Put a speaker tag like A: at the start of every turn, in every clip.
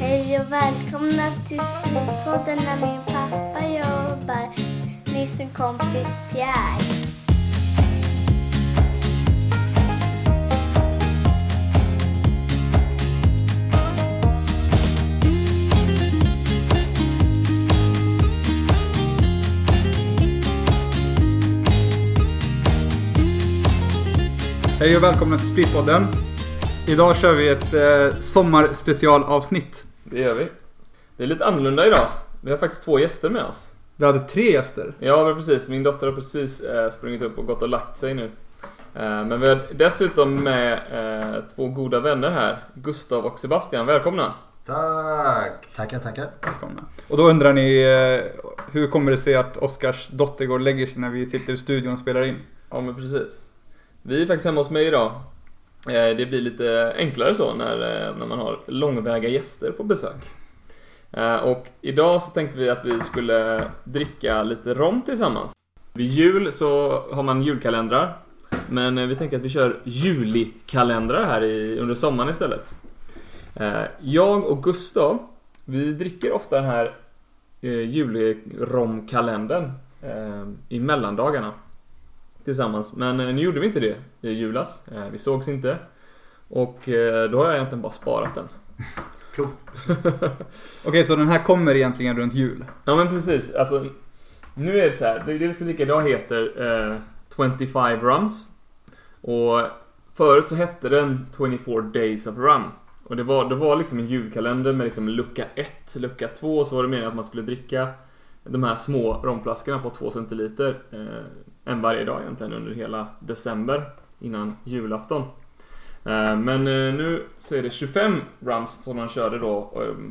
A: Hej och välkomna till Spritpodden när min pappa jobbar med sin kompis Pierre.
B: Hej och välkomna till Splitpodden. Idag kör vi ett eh, sommarspecialavsnitt.
C: Det gör vi. Det är lite annorlunda idag. Vi har faktiskt två gäster med oss.
B: Vi hade tre gäster.
C: Ja, men precis. Min dotter har precis eh, sprungit upp och gått och lagt sig nu. Eh, men vi har dessutom med eh, två goda vänner här. Gustav och Sebastian, välkomna!
D: Tack! Tackar, tackar.
B: Välkomna. Och då undrar ni eh, hur kommer det sig att Oskars dotter går och lägger sig när vi sitter i studion och spelar in?
C: Ja, men precis. Vi är faktiskt hemma hos mig idag. Eh, Det blir lite enklare så när, eh, när man har långväga gäster på besök. Eh, Och idag så tänkte vi att vi skulle dricka lite rom tillsammans. Vid jul så har man julkalendrar. Men eh, vi tänker att vi kör julikalendrar här i, under sommaren istället. Eh, Jag och Gustav, vi dricker ofta den här eh, julromkalendern eh, i mellandagarna tillsammans. Men eh, nu gjorde vi inte det i julas. Eh, vi sågs inte. Och eh, då har jag egentligen bara sparat den.
B: Okej, så den här kommer egentligen runt jul.
C: Ja men precis. Alltså, nu är det så här. Det, det vi ska dricka idag heter eh, 25 Rums. Och förut så hette den 24 Days of Rum. Och det var, det var liksom en julkalender med liksom lucka 1, lucka 2 och så var det meningen att man skulle dricka de här små romflaskorna på 2 centiliter eh, en varje dag egentligen under hela december innan julafton. Eh, men eh, nu så är det 25 rums som man körde då eh,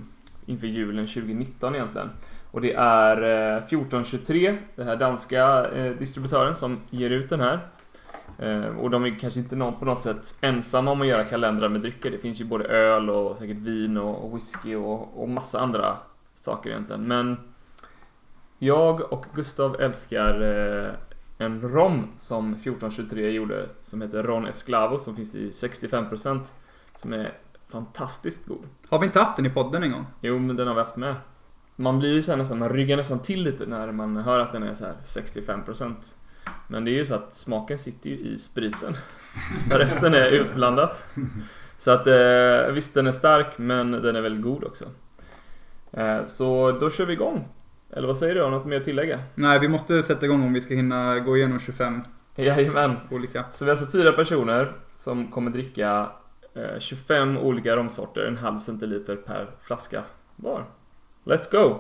C: inför julen 2019 egentligen. Och det är eh, 1423, den här danska eh, distributören som ger ut den här. Eh, Och de är kanske inte någon, på något sätt ensamma om att göra kalendrar med drycker. Det finns ju både öl och säkert vin och och whisky och, och massa andra saker egentligen. Men jag och Gustav älskar eh, en rom som 1423 gjorde som heter Ron Esclavo som finns i 65% som är fantastiskt god.
B: Har vi inte haft den i podden en gång?
C: Jo, men den har vi haft med. Man blir ju så här nästan, man ryggar nästan till lite när man hör att den är så här 65%. Men det är ju så att smaken sitter ju i spriten. Resten är utblandat. Så att eh, visst, den är stark, men den är väldigt god också. Eh, så då kör vi igång. Eller vad säger du? Har du något mer att tillägga?
B: Nej, vi måste sätta igång om vi ska hinna gå igenom 25
C: Jajamän.
B: olika.
C: Så vi är alltså fyra personer som kommer dricka eh, 25 olika romsorter, en halv centiliter per flaska var. Let's go!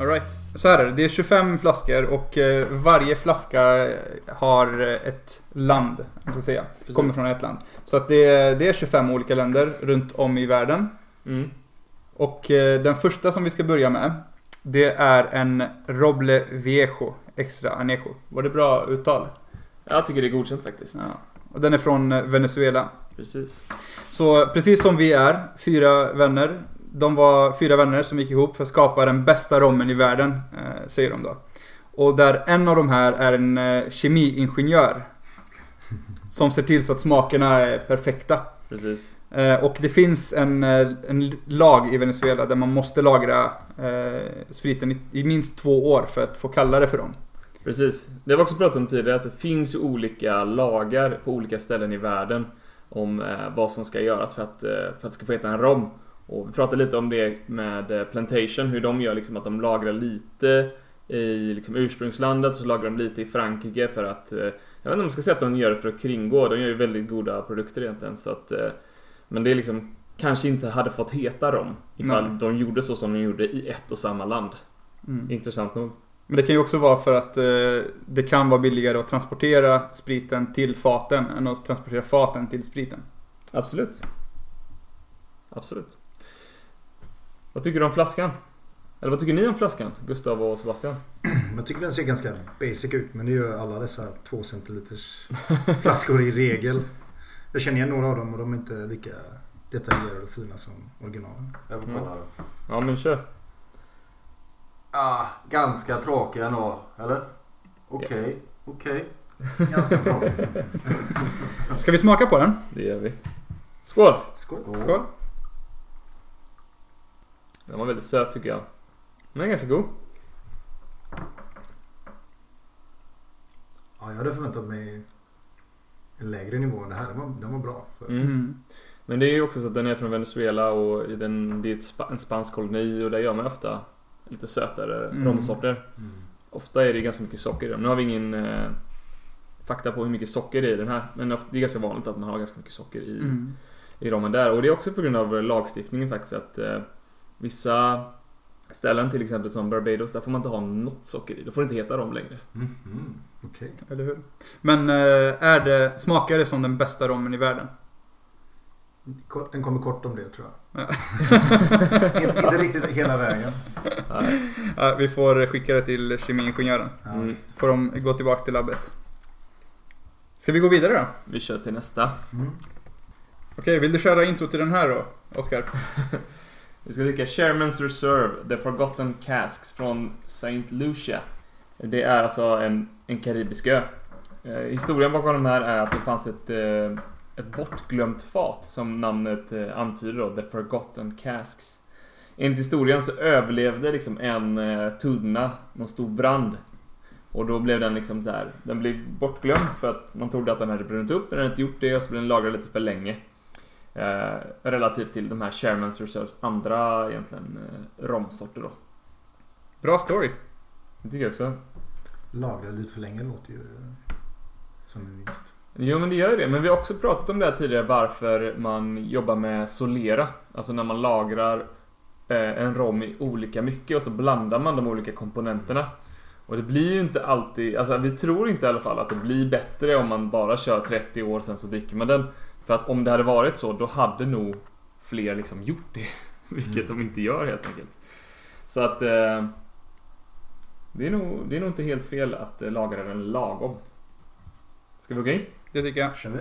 B: All right. Så här är det, det är 25 flaskor och eh, varje flaska eh, har ett land, om jag ska säga.
C: Precis.
B: Kommer från ett land. Så att det, är- det är 25 olika länder runt om i världen.
C: Mm.
B: Och eh, den första som vi ska börja med, det är en Roble Viejo Extra Anejo. Var det bra uttal?
C: Jag tycker det är godkänt faktiskt.
B: Ja. Och den är från eh, Venezuela.
C: Precis.
B: Så precis som vi är, fyra vänner. De var fyra vänner som gick ihop för att skapa den bästa rommen i världen, eh, säger de då. Och där en av de här är en eh, kemiingenjör. Som ser till så att smakerna är perfekta.
C: Precis.
B: Eh, och det finns en, eh, en lag i Venezuela där man måste lagra eh, spriten i, i minst två år för att få kalla det för dem.
C: Precis. Det har vi också pratat om tidigare att det finns ju olika lagar på olika ställen i världen om eh, vad som ska göras för att, eh, för att det ska få heta en rom. Och vi pratade lite om det med eh, Plantation, hur de gör liksom att de lagrar lite i liksom ursprungslandet, så lagrar de lite i Frankrike för att... eh, Jag vet inte om man ska säga att de gör det för att kringgå, de gör ju väldigt goda produkter egentligen så att... eh, Men det är liksom kanske inte hade fått heta rom ifall
B: Nej.
C: de gjorde så som de gjorde i ett och samma land. Intressant nog.
B: Mm. Men det kan ju också vara för att eh, det kan vara billigare att transportera spriten till faten än att transportera faten till spriten.
C: Absolut. Absolut. Vad tycker du om flaskan? Eller vad tycker ni om flaskan, Gustav och Sebastian?
D: Jag tycker den ser ganska basic ut men det gör alla dessa 2 centiliters flaskor i regel. Jag känner igen några av dem och de är inte lika detaljerade och fina som originalen.
E: Jag får
C: Mm.
E: kolla då.
C: Ja, men kör.
E: Ah, ganska tråkiga ändå. Eller? Okej, okej.
D: Ganska bra.
B: Ska vi smaka på den?
C: Det gör vi. Skål!
D: Skål.
B: Skål.
C: Den var väldigt söt tycker jag. Den är ganska god.
D: Ja, jag hade förväntat mig en lägre nivå än det här. Den var, den var bra. För,
C: Mm. Men det är ju också så att den är från Venezuela och i den, det är ett spa, en spansk koloni och där gör man ofta lite sötare
B: Mm.
C: romsorter.
D: mm.
C: Ofta är det ganska mycket socker i dem. Nu har vi ingen eh, fakta på hur mycket socker det är i den här. Men ofta, det är ganska vanligt att man har ganska mycket socker i,
B: Mm.
C: i ramen där. Och det är också på grund av lagstiftningen faktiskt att eh, vissa ställen till exempel som Barbados, där får man inte ha något socker i. Då får det inte heta rom längre.
D: Mhm. Okej.
B: Eller hur? Men eh, är det, smakar det som den bästa rommen i världen?
D: Kort- Den kommer kort om det tror jag.
B: Ja.
D: inte, inte riktigt hela vägen.
C: Nej.
B: Ja, vi får skicka det till kemiingenjören.
D: Ja,
C: Mm.
D: visst.
B: Får de gå tillbaka till labbet. Ska vi gå vidare då?
C: Vi kör till nästa.
D: Mm.
B: Okej, vill du köra intro till den här då, Oskar?
C: Vi ska dricka Sherman's Reserve, The Forgotten Casks från Saint Lucia. Det är alltså en, en karibisk ö. Eh, historien bakom de här är att det fanns ett, eh, ett bortglömt fat som namnet eh, antyder då, The Forgotten Casks. Enligt historien så överlevde liksom en eh, tunna någon stor brand. Och då blev den liksom så här, den blev bortglömd för att man trodde att den hade brunnit upp, men den hade inte gjort det och så blev den lagrad lite för länge. Eh, relativt till de här Shermans Reserves andra egentligen eh, romsorter då.
B: Bra story.
C: Det tycker jag också.
D: Lagrade lite för länge låter ju som en vinst.
C: Jo men det gör ju det. Men vi har också pratat om det här tidigare varför man jobbar med solera. Alltså när man lagrar eh, en rom i olika mycket och så blandar man de olika komponenterna. Och det blir ju inte alltid, alltså vi tror inte i alla fall att det blir bättre om man bara kör 30 år sen så dricker man den. För att om det hade varit så då hade nog fler liksom gjort det. Vilket de inte gör helt enkelt. Så att eh, det, är nog, det är nog inte helt fel att eh, lagra den lagom. Ska vi gå in?
B: Det tycker jag.
D: Kör vi?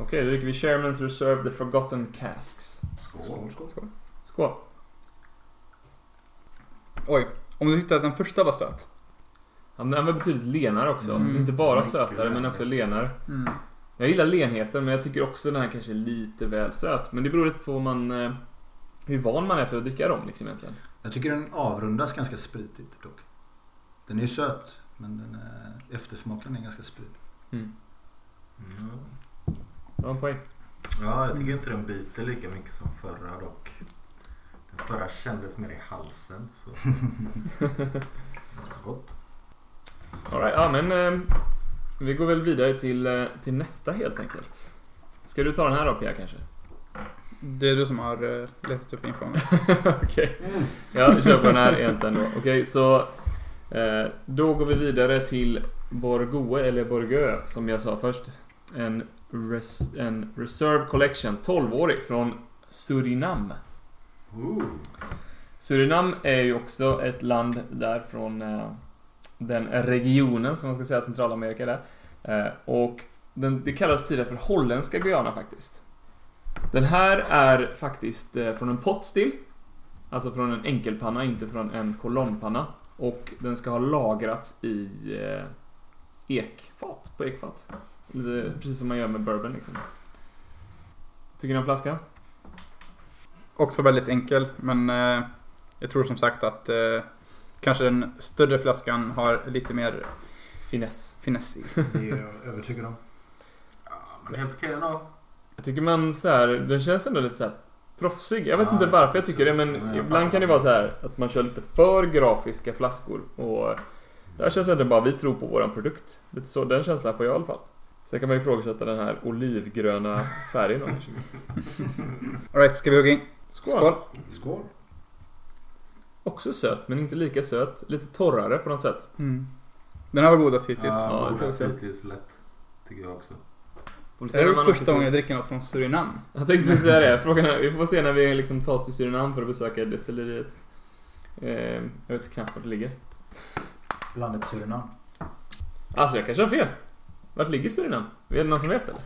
C: Okej, då dricker vi Shermans Reserve The Forgotten Casks.
D: Skål. Skål.
C: Skål!
B: Oj, om du tyckte att den första var söt.
C: Ja, men den var betydligt lenare också.
B: Mm.
C: Inte bara
E: Mycket
C: sötare, men
E: lenare.
C: också lenare. Jag gillar lenheten, men jag tycker också den här kanske är lite väl söt. Men det beror lite på vad man, eh, hur van man är för att dricka rom liksom egentligen.
D: Jag tycker den avrundas ganska spritigt dock. Den är ju söt, men den är, eftersmaken är ganska spritig.
E: Mm.
C: Bra poäng.
E: Ja, jag tycker inte den biter lika mycket som förra dock. Den förra kändes mer i halsen. Så.
D: Gott.
C: All right, ja men eh, vi går väl vidare till, eh, till nästa helt enkelt. Ska du ta den här då Pia kanske?
B: Det är du som har eh, letat upp infon.
C: Okej. Jag kör på den här egentligen då. Okej, så... Eh, då går vi vidare till Borgoe, eller Borgö som jag sa först. En, res, en Reserve Collection, 12-årig, från Surinam.
E: Ooh.
C: Surinam är ju också ett land där från eh, den regionen, som man ska säga, Centralamerika där. Eh, och den, det kallas tidigare för holländska Guyana faktiskt. Den här är faktiskt eh, från en potstill, alltså från en enkelpanna, inte från en kolonnpanna. Och den ska ha lagrats i eh, ekfat, på ekfat. Lite, precis som man gör med bourbon liksom. Tycker ni om flaskan?
B: Också väldigt enkel, men eh, jag tror som sagt att eh, kanske den större flaskan har lite mer
C: Finess.
B: finess i.
D: Det är jag övertygad om.
E: Ja, men helt okej ändå.
C: Jag tycker man så här, den känns ändå lite så här proffsig. Jag vet
E: Ja,
C: inte
E: jag
C: varför jag
E: tycker
C: tycker
E: så.
C: det men
E: Ja, jag
C: ibland
E: fattar.
C: kan det vara så här att man kör lite för grafiska flaskor och där känns det ändå bara vi tror på våran produkt. Lite så, den känslan får jag i alla fall. Sen kan man ju ifrågasätta den här olivgröna färgen då kanske.
B: Alright, ska vi hugga in?
C: Skål.
B: Skål!
D: Skål.
C: Också söt men inte lika söt. Lite torrare på något sätt.
B: Mm. Den här var godast hittills.
E: Ja,
C: Ja,
E: godast
C: det tycker jag.
E: hittills lätt. Tycker jag också.
C: Får vi se
B: det
C: när
B: är
C: man
B: väl
C: åker
B: första
C: till-
B: gången jag dricker något från Surinam.
C: Jag tänkte precis säga det. Frågan är, vi får se när vi liksom tas till Surinam för att besöka destilleriet. Eh, jag vet knappt vart det ligger.
D: Landet Surinam.
C: Alltså jag kanske har fel. Vart ligger Surinam? Är det någon som vet eller?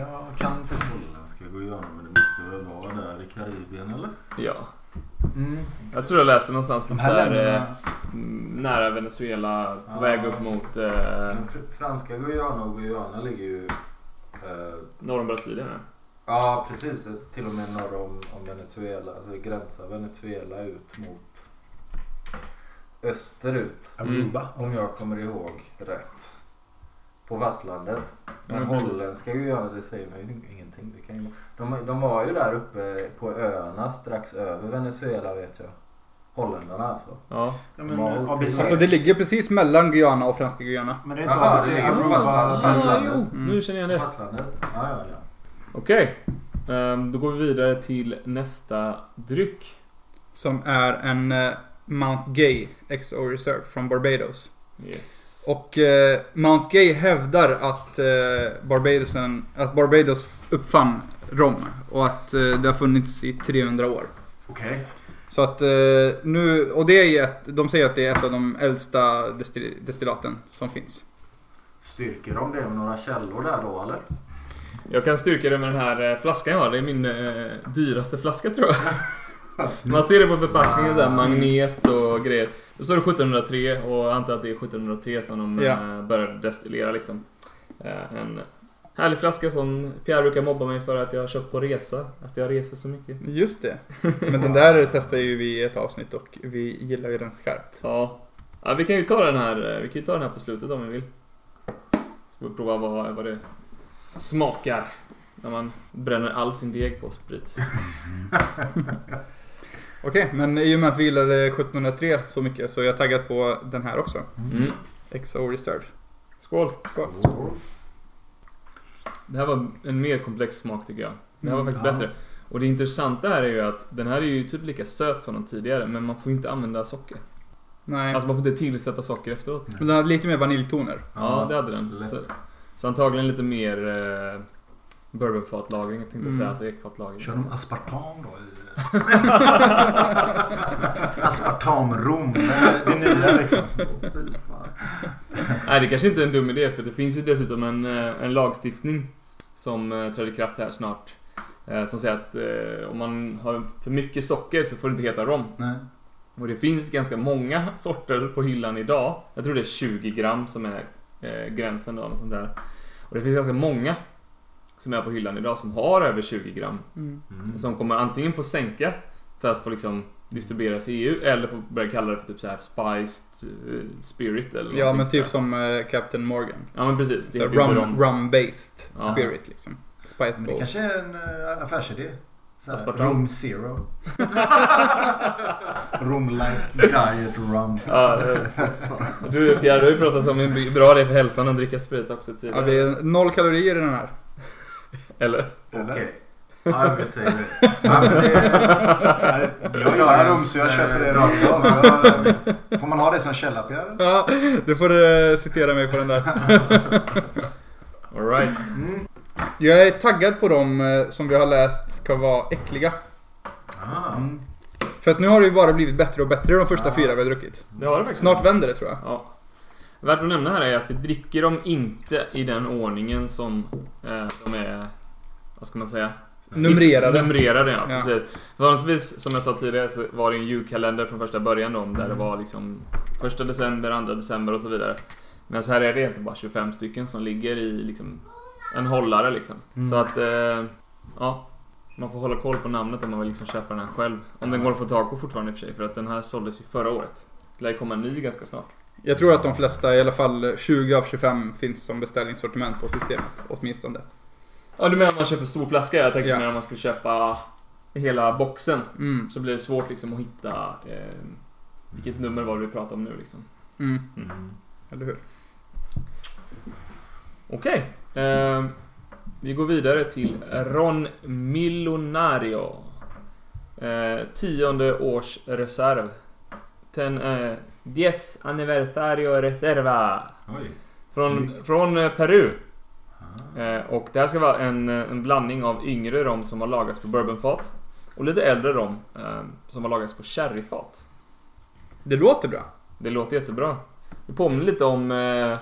D: Jag kan faktiskt.
E: Holländska Guyana, men det måste väl vara där i Karibien eller?
C: Ja.
D: Mm.
C: Jag tror jag läste någonstans
D: De
C: om
D: här
C: såhär...
E: eh,
D: länderna
C: mm, nära Venezuela, på
E: Ja.
C: väg upp mot eh,
E: Men fr- franska Guyana och Guyana ligger ju... eh,
C: norr om Brasilien. ja.
E: ja, precis. Till och med norr om, om Venezuela. Alltså gränsar Venezuela ut mot österut.
D: Aruba.
E: Om jag kommer ihåg rätt. På fastlandet. Men
C: Ja, precis.
E: holländska Guyana, det säger mig ju ingenting. Det kan ju... de, de var ju där uppe på öarna strax över Venezuela vet jag. Holländarna alltså.
C: Ja.
D: Ja, men,
E: Malta.
D: ABC.
B: Alltså det ligger precis mellan Guyana och Franska Guyana.
D: Men det är inte
E: Aha,
D: ABC.
E: det ligger på
D: Aruba.
E: fastlandet.
C: Ah,
E: Fastlandet.
C: jo,
B: Mm.
C: nu känner jag
E: På
C: det.
E: fastlandet. Ja, ja, ja.
C: Okej. Ehm, då går vi vidare till nästa dryck.
B: Som är en eh, Mount Gay XO Reserve från Barbados.
C: Yes.
B: Och eh, Mount Gay hävdar att, eh, Barbadosen, att Barbados uppfann rom och att eh, det har funnits i 300 år.
E: Okej.
B: Så att eh, nu, och det är ju ett, de säger att det är ett av de äldsta destil, destillaten som finns.
E: Styrker de det med några källor där då eller?
C: Jag kan styrka det med den här eh, flaskan jag har. Det är min eh, dyraste flaska tror jag. Man ser det på förpackningen, så här, magnet och grejer. Då står det 1703 och jag antar att det är 1703 som de
B: Ja.
C: eh, började destillera liksom. Eh, en härlig flaska som Pierre brukar mobba mig för att jag har köpt på resa. Att jag reser så mycket.
B: Just det. Men den där testade ju vi i ett avsnitt och vi gillar ju den skarpt.
C: Ja. ja vi kan ju ta den här, eh, vi kan ju ta den här på slutet om vi vill. Så får vi prova vad, vad det smakar. När man bränner all sin deg på sprit.
B: Okej, men i och med att vi gillade 1703 så mycket så är jag taggad på den här också.
C: Mm.
B: XO Reserve.
C: Skål!
B: Skål.
C: Det här var en mer komplex smak tycker jag. Det här var
B: Mm,
C: faktiskt
D: ja.
C: bättre. Och det intressanta här är ju att den här är ju typ lika söt som den tidigare men man får inte använda socker.
B: Nej.
C: Alltså man får inte tillsätta socker efteråt.
B: Men den hade lite mer vaniljtoner.
C: Ja, det hade den.
E: lätt.
C: Så, så antagligen lite mer eh, bourbonfatlagring tänkte jag
B: Mm.
C: säga, alltså ekfatlagring.
D: Kör de aspartam då? I... Aspartamrom. Det är det nya liksom. Åh, fy fan.
C: Nej, det kanske inte är en dum idé för det finns ju dessutom en, eh, en lagstiftning som eh, trädde i kraft här snart. eh, Som säger att eh, om man har för mycket socker så får det inte heta rom.
D: Nej.
C: Och det finns ganska många sorter på hyllan idag. Jag tror det är 20 gram som är eh, gränsen då, något sånt där. Och det finns ganska många som är på hyllan idag som har över 20 gram.
E: Mm.
C: Som kommer antingen få sänka för att få liksom distribueras i EU eller få börja kalla det för typ så här spiced eh, spirit eller
B: Ja,
C: någonting
B: men
C: sånt
B: typ
C: där.
B: som eh, Captain Morgan.
C: Ja men precis.
B: Så
C: Det heter ju inte
B: rum,
C: rom.
B: rum-based
C: Ja.
B: spirit liksom. Spiced
D: Men det
B: gold.
D: kanske är en eh, affärsidé. Så här,
C: Aspartam.
D: Rom zero. rom light diet rum.
C: Ja, eh, du Pierre, du har ju pratat om hur bra det är för hälsan att dricka sprit också
B: Ja,
C: tidigare.
B: det är noll kalorier i den här.
C: Eller?
E: Okej.
D: Eller?
E: Ja, vi säger det. eh, Ja, men det
D: Nej, Jag gillar rum så jag köper det rakt av. Jag- Får man ha det som källa Pierre?
B: Ja, du får eh, citera mig på den där.
C: Alright.
D: Mm.
B: Jag är taggad på dem eh, som vi har läst ska vara äckliga.
E: ah,
D: Mm.
B: För att nu har det ju bara blivit bättre och bättre de första
E: Ja.
B: fyra vi har druckit.
C: Det har det faktiskt.
B: Snart vänder det tror jag.
C: Ja. Värt att nämna här är att vi dricker dem inte i den ordningen som eh, de är, vad ska man säga?
B: Numrerade.
C: Siff- Numrerade, ja,
B: Ja.
C: precis. Vanligtvis, som jag sa tidigare, så var det en julkalender från första början då,
B: Mm.
C: där det var liksom första december, andra december och så vidare. Men så här är det egentligen bara 25 stycken som ligger i liksom en hållare liksom.
B: Mm.
C: Så att, eh, ja. Man får hålla koll på namnet om man vill liksom köpa den här själv. Om den går att få tag på fortfarande i och för sig, för att den här såldes ju förra året. Det lär ju komma en ny ganska snart.
B: Jag tror att de flesta, i alla fall 20 av 25, finns som beställningssortiment på systemet. Åtminstone.
C: Ja, du menar om man köper stor flaska? Jag tänkte
B: Ja.
C: mer om man skulle köpa hela boxen.
B: Mm.
C: Så blir det svårt liksom att hitta eh, vilket nummer var det vi pratade om nu liksom.
B: Mm.
C: Mm.
B: Eller hur?
C: Okej. Eh, vi går vidare till Ron Millonario. Eh, tionde års reserv. Ten, eh, diez aniversario reserva.
E: oj.
C: Från,
E: Snyggt.
C: från eh, Peru.
E: Ah.
C: Eh, Och det här ska vara en, eh, en blandning av yngre rom som har lagats på bourbonfat och lite äldre rom eh, som har lagats på sherryfat.
B: Det låter bra.
C: Det låter jättebra. Det påminner lite om eh, eh,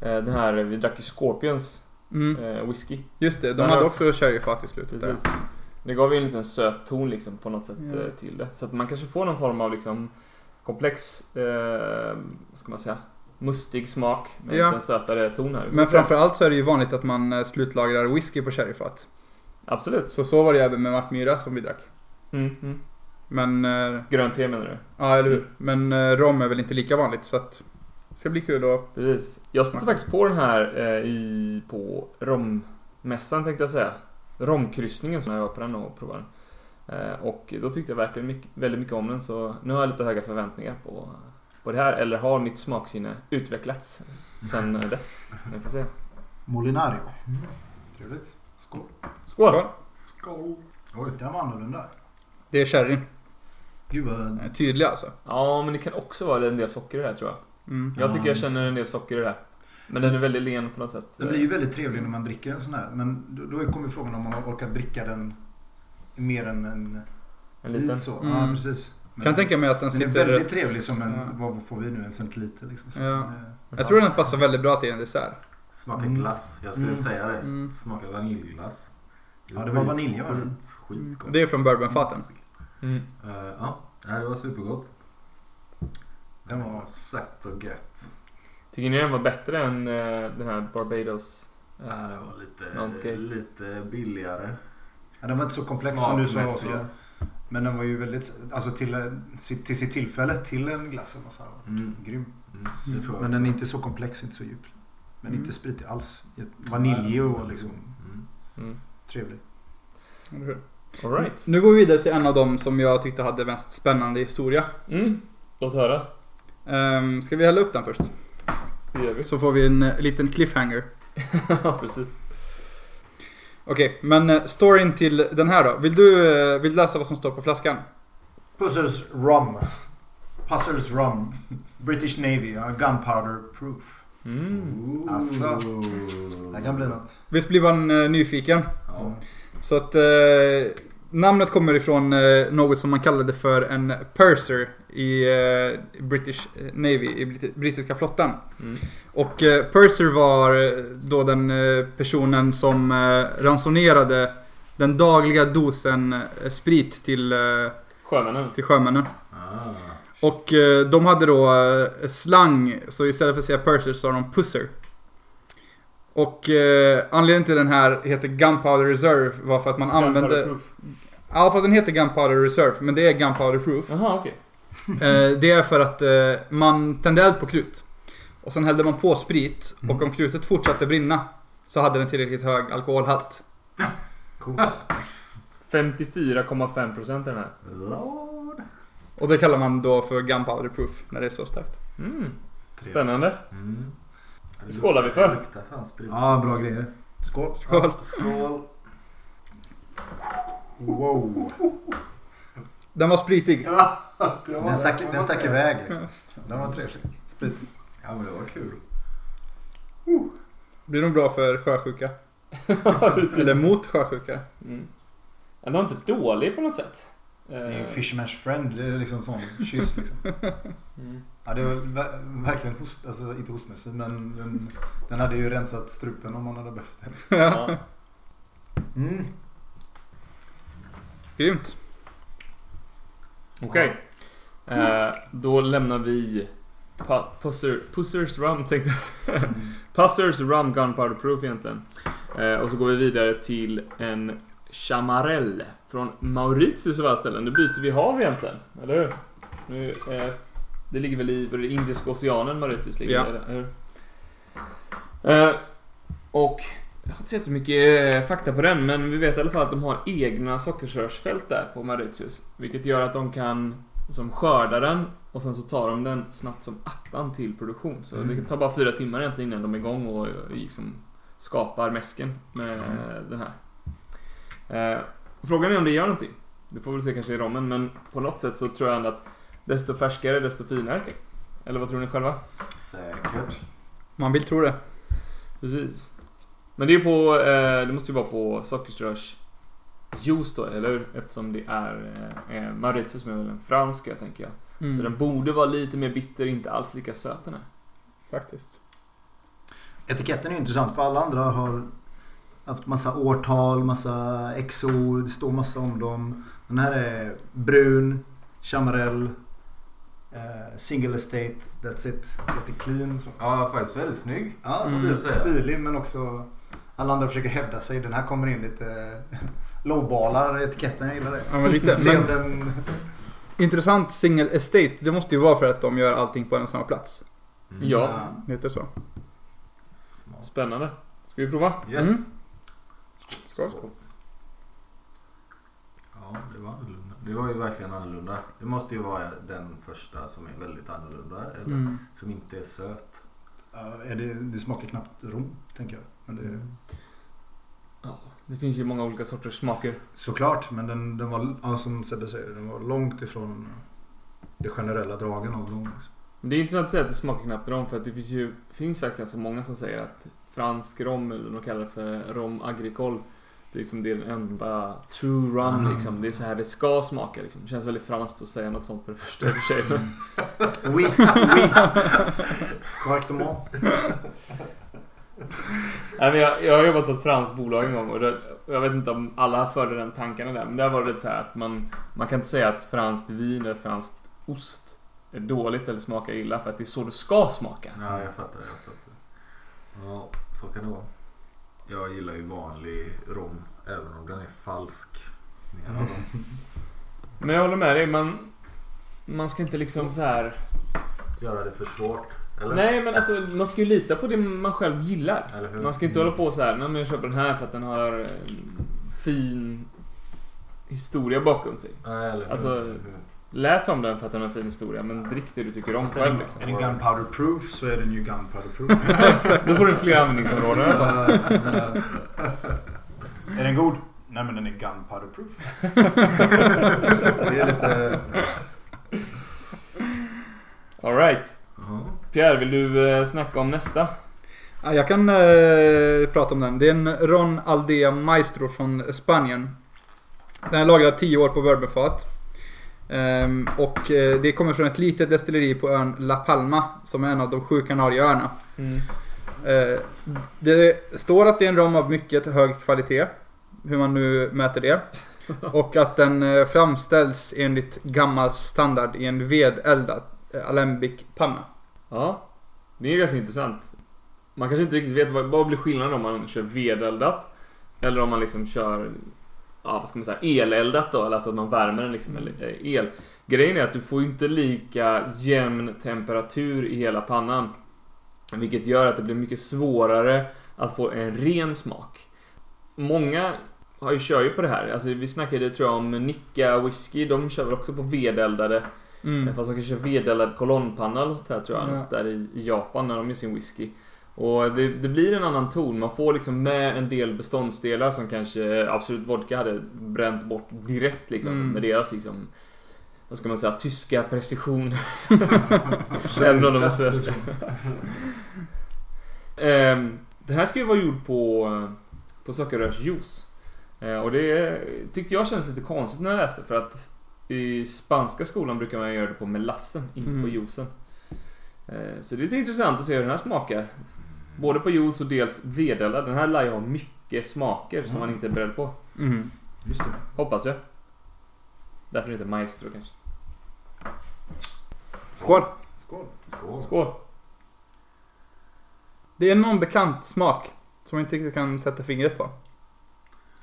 C: den här, vi drack ju Scorpions
B: Mm.
C: eh, whisky.
B: Just det, de
C: Men
B: hade
C: också-
B: också sherryfat i slutet där.
C: Precis. Det gav ju en liten söt ton liksom på något sätt
B: Ja.
C: eh, till det. Så att man kanske får någon form av liksom komplex, eh, vad ska man säga, mustig smak med
B: Ja.
C: en sötare ton här.
B: Men framförallt så är det ju vanligt att man eh, slutlagrar whisky på sherryfat.
C: Absolut.
B: Så så var det ju även med Mackmyra som vi drack.
C: Mm, mm.
B: Men, eh,
C: Grönt te menar du?
B: ja eller hur. Men eh, rom är väl inte lika vanligt så att det ska bli kul att...
C: Precis. Jag stötte
B: Smaka.
C: faktiskt på den här eh, i, på rommässan tänkte jag säga. Romkryssningen som jag var på den och provade den. Eh, och då tyckte jag verkligen mycket, väldigt mycket om den så nu har jag lite höga förväntningar på, på det här. Eller har mitt smaksinne utvecklats sen eh, dess? Vi får se.
D: Molinario.
E: Mm.
D: Trevligt. Skål.
C: Skål!
D: Skål. Oj, den var annorlunda.
B: Det är sherryn.
D: Gud vad...
B: Eh, Tydlig alltså.
C: Ja, men det kan också vara en del socker i det här tror jag.
B: Mm.
C: Jag tycker jag
D: Ja,
C: känner en del socker i det här. Men den är väldigt len på något sätt.
D: Den blir ju väldigt trevlig när man dricker en sån här. Men då- då kommer ju frågan om man orkar dricka den mer än en
C: En liten.
D: bit så.
B: Mm.
D: Ja, precis. Men,
B: Kan tänka mig att den
D: den är
B: sitter...
D: väldigt trevlig som en,
B: Ja.
D: vad får vi nu, en centiliter liksom. Så
B: Ja.
D: att den är-
B: Jag tror den passar väldigt bra till en dessert.
E: Smakar
D: Mm.
E: glass. Jag skulle
D: Mm.
E: säga det.
B: Mm.
E: Smakar vaniljglass.
D: Ja, det var vanilj, va?
E: Skit, skitgott.
B: Det är från bourbonfaten.
C: Mm.
E: Eh, ja, Nej, det var supergott.
D: Den var
E: sött och gött.
C: Tycker ni den var bättre än eh, den här Barbados?
D: Äh,
E: Ja, det var lite,
C: Okej.
E: lite billigare.
D: Ja, den var inte så komplex som du sa
E: Smakmässigt.
D: också. Men den var ju väldigt, alltså till, sitt- till sitt tillfälle, till en glass eller vad sa jag?
E: Mm.
D: Grym.
E: Mm. Det tror jag
D: Men
E: också.
D: den är inte så komplex, inte så djup. Men
B: Mm.
D: inte spritig alls. Vanilj och liksom
E: Mm.
C: Mm.
D: trevlig.
B: Eller hur?
C: Alright.
B: Nu går vi vidare till en av dem som jag tyckte hade mest spännande historia.
C: Mm. Låt höra.
B: Um, ska vi hälla upp den först?
C: Det gör vi.
B: Så får vi en eh, liten cliffhanger.
C: Ja, precis.
B: Okej, men eh, storyn till den här då. Vill du, eh, vill du läsa vad som står på flaskan?
D: Puzzles Rum. Puzzles Rum. British Navy, ja, Gunpowder Proof.
C: Mm.
E: Ooh.
D: Alltså, Det här kan bli något.
B: Visst blir man eh, nyfiken?
E: Ja.
B: Så att eh, namnet kommer ifrån eh, något som man kallade för en purser i eh, British Navy, i brit- brittiska flottan.
C: Mm.
B: Och eh, Purser var eh, då den eh, personen som eh, ransonerade den dagliga dosen eh, sprit till, eh,
C: Sjömännen.
B: till sjömännen.
E: Ah.
B: Och eh, de hade då eh, slang, så istället för att säga Purser sa de Pusser. Och eh, anledningen till den här heter Gunpowder Reserve var för att man använde...
C: Gunpowder-proof.
B: Ja fast den heter Gunpowder Reserve, men det är Gunpowder Proof.
C: Jaha, okej.
B: Eh, det är för att eh, man tände eld på krut. Och sen hällde man på sprit
C: Mm.
B: och om krutet fortsatte brinna så hade den tillräckligt hög alkoholhalt.
D: Coolt.
C: 54,5 procent är den här.
E: Lord.
B: Och det kallar man då för gunpowder proof när det är så starkt.
C: Mm. Spännande.
E: Mm.
C: Skålar vi för?
E: Det luktar fan sprit.
D: Ja, bra grejer. Skål.
B: Skål!
E: Skål.
D: Wow.
B: Den var spritig.
D: Den stack, den stack iväg liksom. Den var trevlig. Sprit.
E: Ja, men det var kul.
B: Blir nog bra för sjösjuka. Eller mot sjösjuka.
C: Mm. Den var inte dålig på något sätt.
D: Det är ju
C: Eh,
D: Fisherman's friend. Det är liksom sån kyss liksom.
C: mm.
D: Ja, det var ver- verkligen host, alltså inte hostmedicin men den, den hade ju rensat strupen om man hade behövt det.
C: Ja.
D: Mm.
B: Grymt.
C: Okej. Eh, då lämnar vi pa- Pusser, Pussers Rum tänkte jag säga. Pussers Rum Gunpowder Proof egentligen. Eh, och så går vi vidare till en Chamarelle från Mauritius av alla ställen. Nu byter vi hav egentligen, eller hur? Nu, eh, det ligger väl i var det Indiska oceanen Mauritius ligger
B: Ja.
C: i, eller hur? Eh, och jag har inte sett så mycket eh, fakta på den, men vi vet i alla fall att de har egna sockerrörsfält där på Mauritius. Vilket gör att de kan som skörda den och sen så tar de den snabbt som attan till produktion. Så
D: Mm.
C: det tar bara fyra timmar egentligen innan de är igång och eh, liksom skapar mäsken med eh, den här. Eh, frågan är om det gör någonting. Det får vi väl se kanske i rommen, men på något sätt så tror jag ändå att desto färskare, desto finare. Eller vad tror ni själva?
E: Säkert.
B: Man vill tro det.
C: Precis. Men det är ju på, eh, det måste ju vara på sockerrörsjuice då, eller hur? Eftersom det är eh, eh, Mauritius som är väl en fransk ö, tänker jag.
B: Mm.
C: Så den borde vara lite mer bitter, inte alls lika söt den här.
B: Faktiskt.
D: Etiketten är ju intressant för alla andra har haft massa årtal, massa XO, det står massa om dem. Den här är brun, chamarell, eh, Eh, single estate, that's it. Lite clean. Så.
E: Ja, faktiskt väldigt snygg.
D: Ja,
B: Mm.
D: stil,
E: Så är det.
D: stilig men också alla andra försöker hävda sig. Den här kommer in lite lowballar etiketten. Jag gillar det.
B: Ja, men lite.
D: Se om
B: Men
D: den...
B: intressant single estate, det måste ju vara för att de gör allting på en och samma plats.
E: Mm.
C: Ja.
B: Det heter så.
E: Smart.
C: Spännande. Ska vi prova?
E: Yes.
B: Mm. Skål.
E: Ja, det var annorlunda. Det var ju verkligen annorlunda. Det måste ju vara den första som är väldigt annorlunda. Eller
B: Mm.
E: som inte är söt.
D: Ja, är det, det smakar knappt rom, tänker jag. Men det,
C: Ja, det finns ju många olika sorters smaker.
D: såklart, men den, den var, ja, som Sebbe säger, den var långt ifrån det generella dragen av rom. liksom.
C: Det är intressant att säga att det smakar knappt rom för att det finns ju finns faktiskt ganska många som säger att fransk rom, eller de kallar det för rom agricole, det är, liksom, det är den enda true rum
E: Mm.
C: liksom. Det är så här det ska smaka liksom. Det känns väldigt franskt att säga något sånt för det första i och för sig. men-
D: Oui, oui. Correctement.
C: Nej, men jag, jag har jobbat på ett franskt bolag en gång och det, och jag vet inte om alla förde den tankarna där. Men där var det lite så här att man, man kan inte säga att franskt vin eller franskt ost är dåligt eller smakar illa för att det är så det ska smaka.
E: Ja, jag fattar. Jag fattar. Ja, så kan det vara. Jag gillar ju vanlig rom, även om den är falsk. Mer av dem.
C: Men jag håller med dig, man, man ska inte liksom så här...
E: Göra det för svårt. Eller?
C: Nej men alltså man ska ju lita på det man själv gillar.
E: Eller
F: Mm.
E: hur?
C: Man ska inte hålla på så här, nej men jag köper den här för att den har en fin historia bakom sig.
E: Nej, eller hur?
C: Alltså, Läs om den för att den har en fin historia men drick det du tycker om
D: Fast
C: själv
D: den-
C: liksom.
D: Är den gunpowder proof så är den ju gunpowder proof.
C: Då får du fler användningsområden i alla fall.
D: är den god? Nej men den är gunpowder proof. det är lite...
C: Alright.
E: Ja.
C: Pierre, vill du eh, snacka om nästa?
B: Ja, jag kan eh, prata om den. Det är en Ron Aldea Maestro från Spanien. Den är lagrad 10 år på bourbonfat. Ehm, och eh, det kommer från ett litet destilleri på ön La Palma, som är en av de sju Kanarieöarna. Eh, Det står att det är en rom av mycket hög kvalitet, hur man nu mäter det. Och att den eh, framställs enligt gammal standard i en vedeldad eh, alembic-panna.
C: Ja. Det är ganska intressant. Man kanske inte riktigt vet vad, vad blir skillnaden om man kör vedeldat eller om man liksom kör ja, vad ska man säga, eleldat då, eller alltså att man värmer den liksom med eh, el. Grejen är att du får ju inte lika jämn temperatur i hela pannan. Vilket gör att det blir mycket svårare att få en ren smak. Många har ju, kör ju på det här. Alltså, vi snackade tror jag om Nicka Whisky. De kör väl också på vedeldade
B: Mm.
C: Eh, Fast de kanske kör vedeldad kolonnpanna eller sånt här tror jag.
B: Ja.
C: Alltså, Där i, i Japan när de gör sin whisky. Och det, det blir en annan ton. Man får liksom med en del beståndsdelar som kanske Absolut Vodka hade bränt bort direkt liksom.
B: Mm.
C: Med deras liksom, vad ska man säga, tyska precision.
D: Absolut,
C: Även om de var
D: det-
C: svenska. Ehm, det här ska ju vara gjort på, eh, på sockerrörsjuice. Eh, Och det tyckte jag kändes lite konstigt när jag läste för att i spanska skolan brukar man göra det på melassen, inte
B: Mm.
C: på juicen. Eh, Så det är lite intressant att se hur den här smakar. Både på juice och dels vedeldad. Den här lär ju ha mycket smaker som man inte är beredd på.
B: Mm.
D: Just det.
C: Hoppas jag. Därför heter det maestro kanske.
B: Skål!
D: Skål.
E: Skål.
C: Skål!
B: Det är någon bekant smak som jag inte riktigt kan sätta fingret på.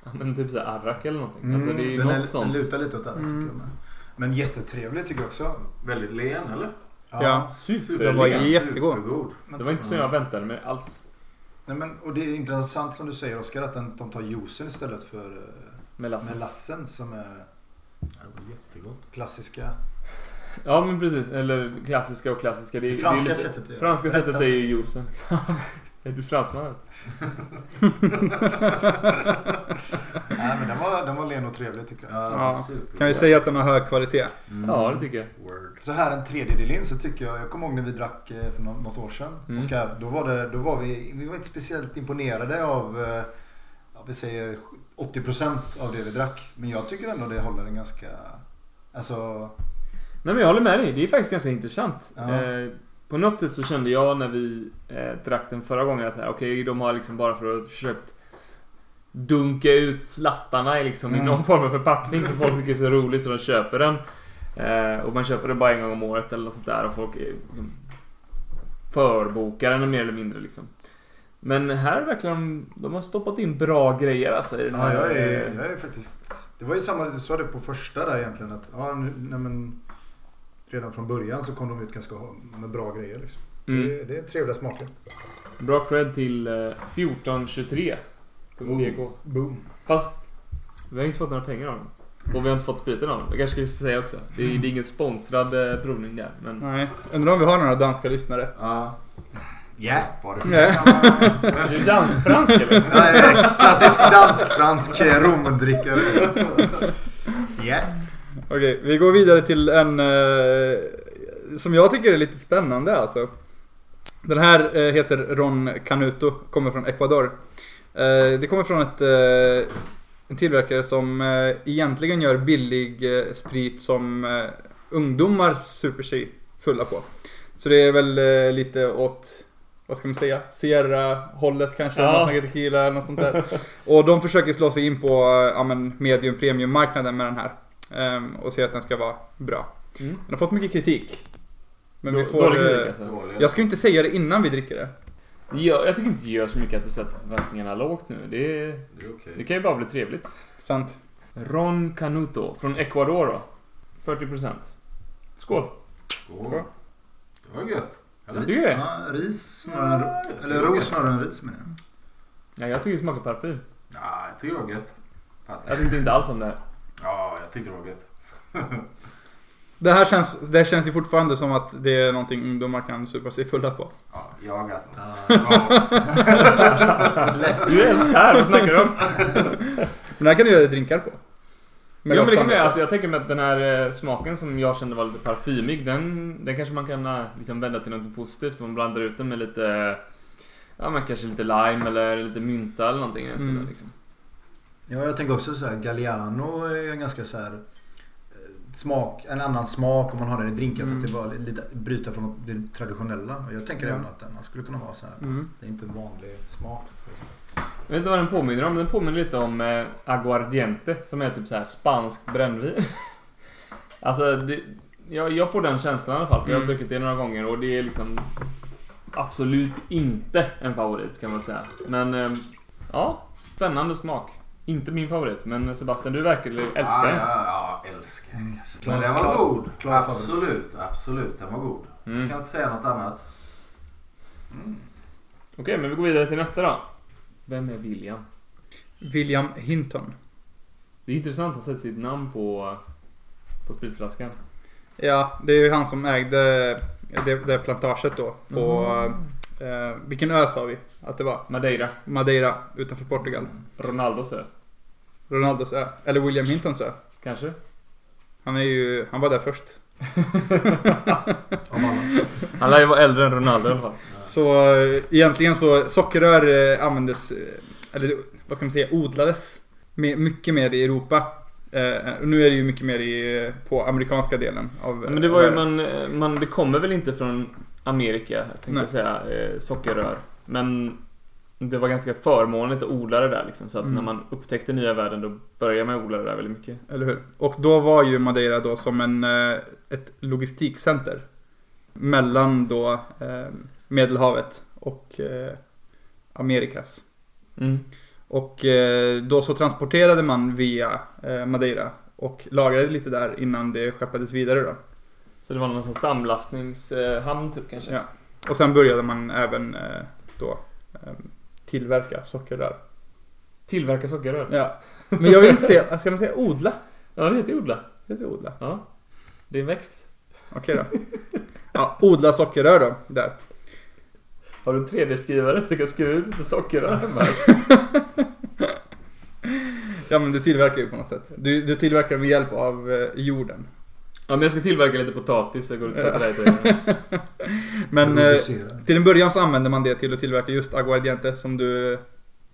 C: Ja, men typ såhär arrak eller någonting.
D: Mm,
C: alltså det är ju
D: den
C: något
D: är- Den
C: sånt.
D: lutar lite åt det här,
B: Mm.
D: tycker jag med. Men jättetrevlig tycker jag också.
E: Väldigt len, eller?
B: Ja.
C: Super.
B: Den var
C: Superliga.
B: jättegod.
E: Supergod.
D: men-
C: Det var inte så jag väntade mig alls.
D: Nej, men, och det är intressant som du säger Oskar att den, de tar juicen istället för eh,
C: Melassen.
D: melassen som är
E: Det var jättegod.
D: klassiska.
C: Ja men precis, eller klassiska och klassiska. Det, är-
D: Det franska
C: det är lite,
D: sättet. är-
C: franska
D: rätta
C: sättet är ju juicen. är du fransman eller?
D: Nej, men den var, den var len och trevlig tycker jag.
B: Ja.
E: supergod.
B: Kan vi säga att den har hög kvalitet?
E: Mm.
C: Ja det tycker jag.
E: Word.
D: Så här en tredjedel in så tycker jag, jag kommer ihåg när vi drack eh, för nå- något år sedan.
C: Mm.
D: Oskar, då var, det, då var vi, vi var inte speciellt imponerade av, eh, ja, vi säger 80% av det vi drack. Men jag tycker ändå det håller en ganska, alltså
C: Nej men jag håller med dig, det är faktiskt ganska intressant.
D: Ja.
C: Eh, på något sätt så kände jag när vi eh, drack den förra gången att så här, okej de har liksom bara för att försökt dunka ut slattarna i, liksom, i
D: Mm.
C: någon form av förpackning som folk tycker är så rolig så de köper den. Eh, och man köper det bara en gång om året eller något sånt där och folk är, liksom, förbokar den mer eller mindre liksom. Men här verkar de, de har stoppat in bra grejer alltså i den
D: Ja,
C: här.
D: jag är,
C: eh,
D: jag är faktiskt... Det var ju samma, du sa det på första där egentligen att ja, nu, nej men, redan från början så kom de ut ganska med bra grejer liksom.
C: mm.
D: Det, det är trevliga smaker.
C: Bra cred till eh, 1423.
D: Boom. Boom.
C: Fast vi har inte fått några pengar av dem. Och vi har inte fått spriten av dem. Det kanske ska säga också. Det är, det är ingen sponsrad eh, provning där. Men
B: Nej, undrar om vi har några danska lyssnare.
E: Ja.
D: Jävlar.
B: Nej.
C: är du dansk-fransk eller?
D: Nej, Klassisk dansk-fransk romdrickare. Ja.
B: Okej, vi går vidare till en eh, som jag tycker är lite spännande alltså. Den här eh, heter Ron Canuto, kommer från Ecuador. Eh, det kommer från ett, eh, en tillverkare som eh, egentligen gör billig eh, sprit som eh, ungdomar super sig fulla på. Så det är väl eh, lite åt, vad ska man säga, Sierra-hållet kanske,
C: Ja.
B: ja. något tequila eller något sånt där. Och de försöker slå sig in på eh, ja, men medium premium marknaden med den här. Ehm, och säger att den ska vara bra.
C: Mm.
B: Den har fått mycket kritik. Men vi
C: Då-
B: får...
C: dålig
B: eh,
C: kritik, alltså.
E: Dåliga.
B: jag ska ju inte säga det innan vi dricker det.
C: Jag, jag tycker inte det gör så mycket att du sätter förväntningarna lågt nu. Det, är-
E: Det är okej.
C: det kan ju bara bli trevligt.
B: Sant.
C: Ron Canuto från Ecuador då. 40%. Skål!
E: Skål. Det var gött.
C: Jag tycker det.
D: Ja, ris snarare än- Eller ros snarare än ris menar jag.
C: Ja, jag tycker det smakar parfym.
E: Ja, jag tycker det var gött. Fan, så-
C: Jag tyckte inte alls om det här.
E: Ja, jag tyckte det var gött.
B: Det här känns, det här känns ju fortfarande som att det är någonting ungdomar kan supa sig fulla på.
E: Ja, jag alltså.
C: Du är ens här, vad snackar du om?
B: Men det här kan du göra drinkar på.
C: Men, ja, men det kan
B: samvete.
C: man, alltså, jag tänker mig att den här eh, smaken som jag kände var lite parfymig, den, den kanske man kan eh, liksom vända till något positivt. Man blandar ut den med lite, eh, ja men kanske lite lime eller lite mynta eller någonting i den stilen
B: Mm.
C: liksom.
D: Ja, jag tänker också så här. Galliano är en ganska så här eh, smak, en annan smak om man har den i drinkar
B: Mm.
D: för att det var li- lite bryta från det traditionella. Och Jag tänker
B: Ja.
D: även att den skulle kunna vara så här.
B: Mm.
D: Det är inte en vanlig smak.
C: Jag vet inte vad den påminner om, den påminner lite om eh, aguardiente som är typ så här spansk brännvin. alltså, det, jag, jag får den känslan i alla fall för jag har
B: Mm.
C: druckit det några gånger och det är liksom absolut inte en favorit kan man säga. Men eh, ja, spännande smak. Inte min favorit, men Sebastian du verkar älska
E: ja,
C: den.
E: ja, ja, älskar den kanske.
D: Klar-
E: Men den var
D: klar-
E: god.
D: klar favorit.
E: absolut, absolut. Den var god.
C: Mm.
E: Jag ska inte säga något annat.
C: Okej, men vi går vidare till nästa då. Vem är William?
B: William Hinton.
C: Det är intressant att sätta sitt namn på, på spritflaskan.
B: Ja, det är ju han som ägde det, det plantaget då. På, eh, vilken ö sa vi att det var?
C: Madeira.
B: Madeira utanför Portugal.
C: Ronaldos ö.
B: Ronaldos ö. Eller William Hintons ö.
C: Kanske?
B: Han är ju, han var där först.
D: Av alla.
C: Han lär ju vara äldre än Ronaldo i alla fall.
B: Så eh, egentligen så sockerrör eh, användes, eh, eller vad ska man säga, odlades me- mycket mer i Europa. Eh, och nu är det ju mycket mer i, eh, på amerikanska delen av eh,
C: Men det var ju,
B: världen.
C: man, man, det kommer väl inte från Amerika, jag tänkte
B: Nej.
C: säga, eh, sockerrör. Men det var ganska förmånligt att odla det där liksom. Så att
B: Mm.
C: när man upptäckte nya världen då började man odla det där väldigt mycket.
B: Eller hur? Och då var ju Madeira då som en, eh, ett logistikcenter. Mellan då eh, Medelhavet och eh, Amerikas.
C: Mm.
B: Och eh, då så transporterade man via eh, Madeira. Och lagrade lite där innan det skeppades vidare då.
C: Så det var någon sån samlastningshamn typ kanske?
B: Ja. Och sen började man även eh, då eh, tillverka sockerrör.
C: Tillverka sockerrör?
B: Ja. Men jag vill inte säga, ska man säga odla?
C: Ja, det heter ju odla.
B: Jag säger odla.
C: Ja. Det är en växt.
B: Okej då. Ja, odla sockerrör då, där.
C: Har du en 3D-skrivare så du kan skriva ut lite sockerrör hemma?
B: Ja men du tillverkar ju på något sätt. Du, du tillverkar med hjälp av eh, jorden.
C: Ja, men jag ska tillverka lite potatis så jag går ut och sätter dig till.
B: Men eh,
D: Producera.
B: till en början så använde man det till att tillverka just aguardiente som du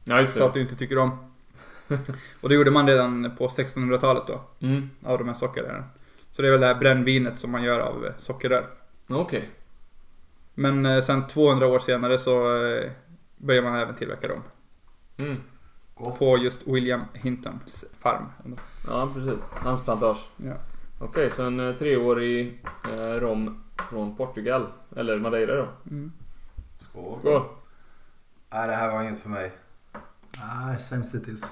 C: Ja, just
B: sa att
C: det.
B: du inte tycker om. Och det gjorde man redan på 1600-talet då,
C: Mm.
B: av de här sockerrören. Så det är väl det här brännvinet som man gör av eh, sockerrör.
C: Okej.
B: Men eh, sen 200 år senare så eh, börjar man även tillverka dem.
C: Mm.
E: Gott.
B: På just William Hintons farm.
C: Ja, precis. Hans plantage.
B: Ja.
C: Okej, så en eh, treårig eh, rom från Portugal. Eller Madeira då.
B: Mm.
E: Skål.
C: Skål!
E: Nej, det här var inget för mig.
D: Nej, sämst hittills.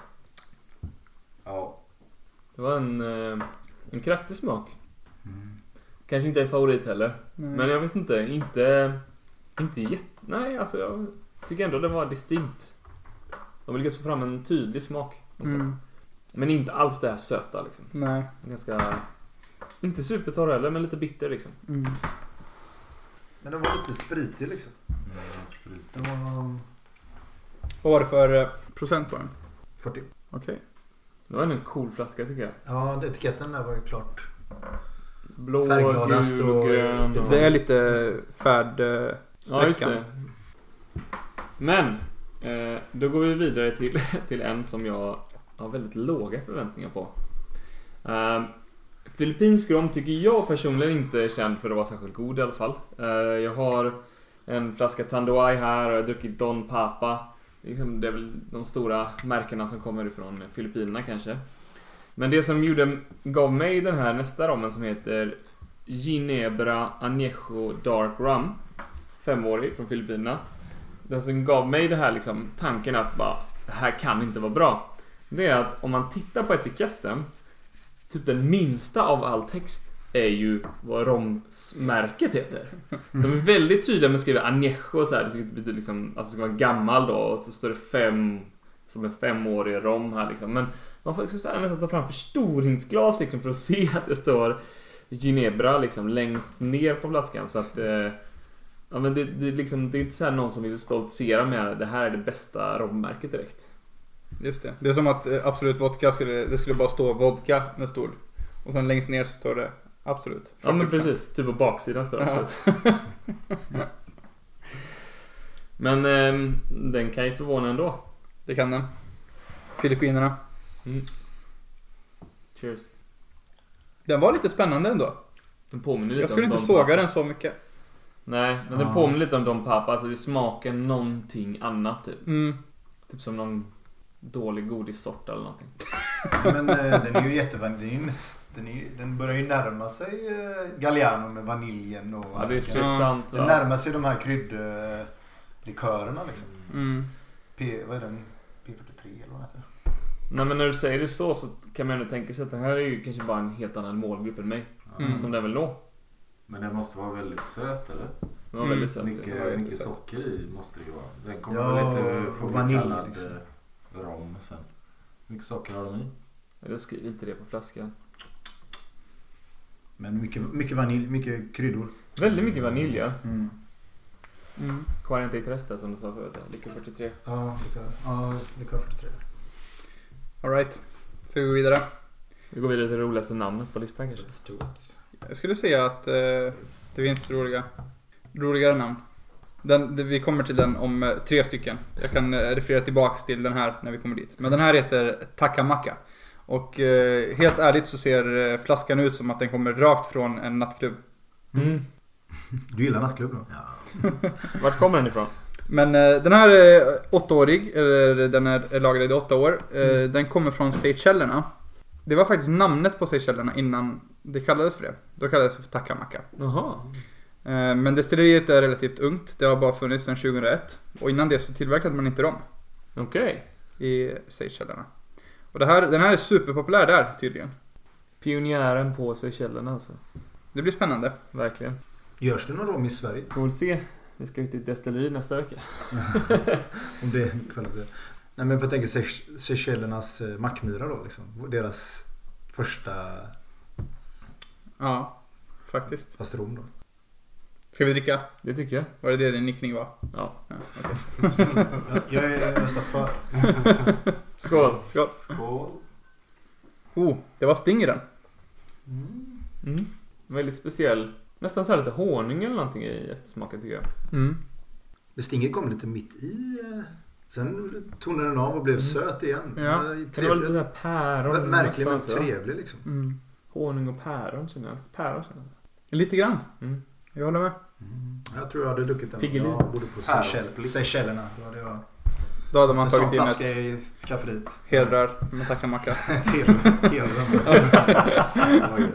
E: Ja.
C: Det var en, eh, en kraftig smak. Kanske inte en favorit heller.
B: Nej.
C: Men jag vet inte. Inte... Inte jätte... Nej, alltså jag tycker ändå den var distinkt. De lyckades få fram en tydlig smak.
B: Mm.
C: Men inte alls det här söta liksom.
B: Nej.
C: Ganska... Inte supertorr heller, men lite bitter liksom.
B: Mm.
D: Men den var lite spritig liksom.
E: Mm, sprit.
D: Den var um,
B: Vad var det för eh, procent på den?
D: 40.
B: Okej.
C: Det var ändå en cool flaska tycker jag.
D: Ja, etiketten där var ju klart.
C: Blå,
D: Färggladast
C: gul,
D: och- eh,
C: grön.
D: det-
C: och-
B: Det är lite eh, färdsträckan.
C: Ja, just det. Men, eh, då går vi vidare till, till en som jag har väldigt låga förväntningar på. Eh, Filippinsk rom tycker jag personligen inte är känd för att vara särskilt god i alla fall. Eh, jag har en flaska Tandoai här och jag har druckit Don Papa. Liksom, det är väl de stora märkena som kommer ifrån Filippinerna kanske. Men det som gjorde, gav mig den här nästa rommen som heter Ginebra Añejo Dark Rum femårig från Filippinerna. Den som gav mig det här liksom, tanken att bara, det här kan inte vara bra. Det är att om man tittar på etiketten, typ den minsta av all text är ju vad rommärket heter. Som är väldigt tydliga med att skriva añejo så här, det betyder liksom att det ska vara gammal då och så står det fem, som en femårig rom här liksom. Men man får liksom så här nästan ta fram förstoringsglas liksom för att se att det står Ginebra liksom längst ner på flaskan så att eh, Ja men det, det, är liksom, det är inte så här någon som vill stoltsera med det här är det bästa rommärket direkt.
B: Just det. Det är som att eh, Absolut Vodka skulle, det skulle bara stå vodka med stol. Och sen längst ner så står det Absolut.
C: Ja men
B: 40%.
C: precis, typ på baksidan står det
B: Ja.
C: absolut. Men ehm, den kan ju förvåna ändå.
B: Det kan den. Filippinerna.
C: Cheers.
B: Den var lite spännande ändå.
C: Den påminner lite
B: Jag skulle
C: om
B: inte
C: Don
B: såga
C: Papa.
B: den så mycket.
C: Nej, men den
D: Ja.
C: påminner lite om Don Papa. Alltså det smakar någonting annat typ.
B: Mm.
C: Typ som någon dålig godissort eller någonting.
D: Men eh, den är ju jättevänlig. Den, är ju näst- den, är ju- den börjar ju närma sig eh, Galliano med vaniljen och...
C: Ja det är
B: Ja.
C: intressant
D: den
C: va?
D: närmar sig de här kryddlikörerna liksom.
B: Mm.
D: P, vad är den? P43 eller vad heter det?
C: Nej men när du säger det så så kan man ändå tänka sig att det här är ju kanske bara en helt annan målgrupp än mig.
B: Mm.
C: Som den vill nå.
E: Men den måste vara väldigt söt eller?
C: Liksom, Det var
B: Mm.
C: väldigt söt. ju.
B: var
E: mycket mycket
B: jättesöt.
E: socker i måste det ju vara. Den kommer
D: Ja,
E: väl inte få
D: och
E: bli
D: vanilj,
E: kallad
D: liksom.
E: eh, rom sen. Hur mycket socker har de i?
C: Eller skriv inte det på flaskan.
D: Men mycket, mycket vanilj, mycket kryddor.
C: Väldigt mycket vanilj ja.
D: Mm.
B: Mm.
C: 40 resta som du sa förut. ja. Lycka 43.
D: Ja, likör, ja, likör 43.
B: Alright. Ska vi gå vidare?
C: Vi går vidare till det roligaste namnet på listan kanske.
D: Let's do it.
B: Jag skulle säga att eh, det finns roliga, roligare namn. Den, det- vi kommer till den om eh, tre stycken. Jag kan eh, referera tillbaks till den här när vi kommer dit. Men den här heter Takamaka. Och eh, helt ärligt så ser eh, flaskan ut som att den kommer rakt från en nattklubb.
C: Mm.
D: Du gillar nattklubb då? Ja.
C: Vart kommer den ifrån?
B: Men eh, den här är åttaårig, eller den är lagrad i åtta år. Eh,
C: Mm.
B: Den kommer från Seychellerna. Det var faktiskt namnet på Seychellerna innan det kallades för det. Då kallades det för Takamaka.
C: Jaha.
B: Eh, Men destilleriet är relativt ungt. Det har bara funnits sedan 2001. Och innan det så tillverkade man inte rom
C: Okej.
B: i Seychellerna. Och det här, den här är superpopulär där tydligen.
C: Pionjären på Seychellerna alltså.
B: Det blir spännande.
C: Verkligen.
D: Görs det någon rom i Sverige?
C: Får väl se. Vi ska ut till ett destilleri nästa vecka.
D: Om det är kvalitet. Nej men för jag tänker Sey- Seychellernas eh, mackmyra då liksom. Deras första
B: Ja, faktiskt.
D: fast rom då.
B: Ska vi dricka?
C: Det tycker jag.
B: Var det det din nickning var?
C: Ja.
B: okej.
D: Jag är jag röstar för.
C: Skål.
B: Skål.
E: Skål.
B: Oh, det var sting i den.
C: Mm. Väldigt speciell. Nästan så här lite honung eller någonting i eftersmaken tycker jag.
B: Mm.
D: Men Stinget kom lite mitt i. eh, Sen tonade den av och blev söt igen.
B: Ja.
D: Eh,
C: Kan det vara
D: Trevlig.
C: lite så här päron?
D: Märklig men
C: nästan, tror jag.
D: trevlig liksom.
B: Mm.
C: Honung och päron känner jag. Päron känner
B: Lite grann.
C: jag. Mm.
B: Jag håller med.
D: Jag tror jag hade druckit den om
C: Piggelin.
D: jag bodde på Seychell-
E: Päronsplitt.
D: Seychellerna. Då hade jag
B: Då hade man
D: Eftersom
B: tagit in
D: flaska
B: ett
D: i kafferiet.
B: hedrar med tackamacka.
D: Hedrar.
E: Oj.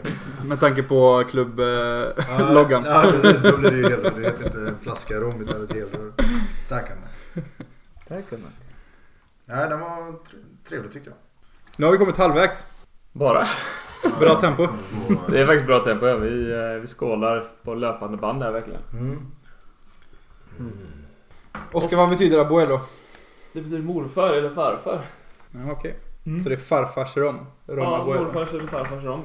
B: Med tanke på eh,
D: Ja,
B: klubbloggan.
D: Ja precis, då blir det ju hedrar. Det heter inte en flaska rom utan ett hedrar. Tackar man.
C: Tackarna.
D: Nej, den var tre- trevlig tycker jag.
B: Nu har vi kommit halvvägs.
C: Bara.
B: Bra tempo.
C: Det är faktiskt bra tempo. ja. Vi, eh, vi skålar på löpande band här verkligen.
D: Mm.
B: Oskar, vad betyder abuelo?
C: Det betyder morfar eller farfar.
B: Ja, Okej.
C: Mm.
B: Så det är farfars rom? rom
C: ja,
B: abuelo.
C: morfars eller farfars rom.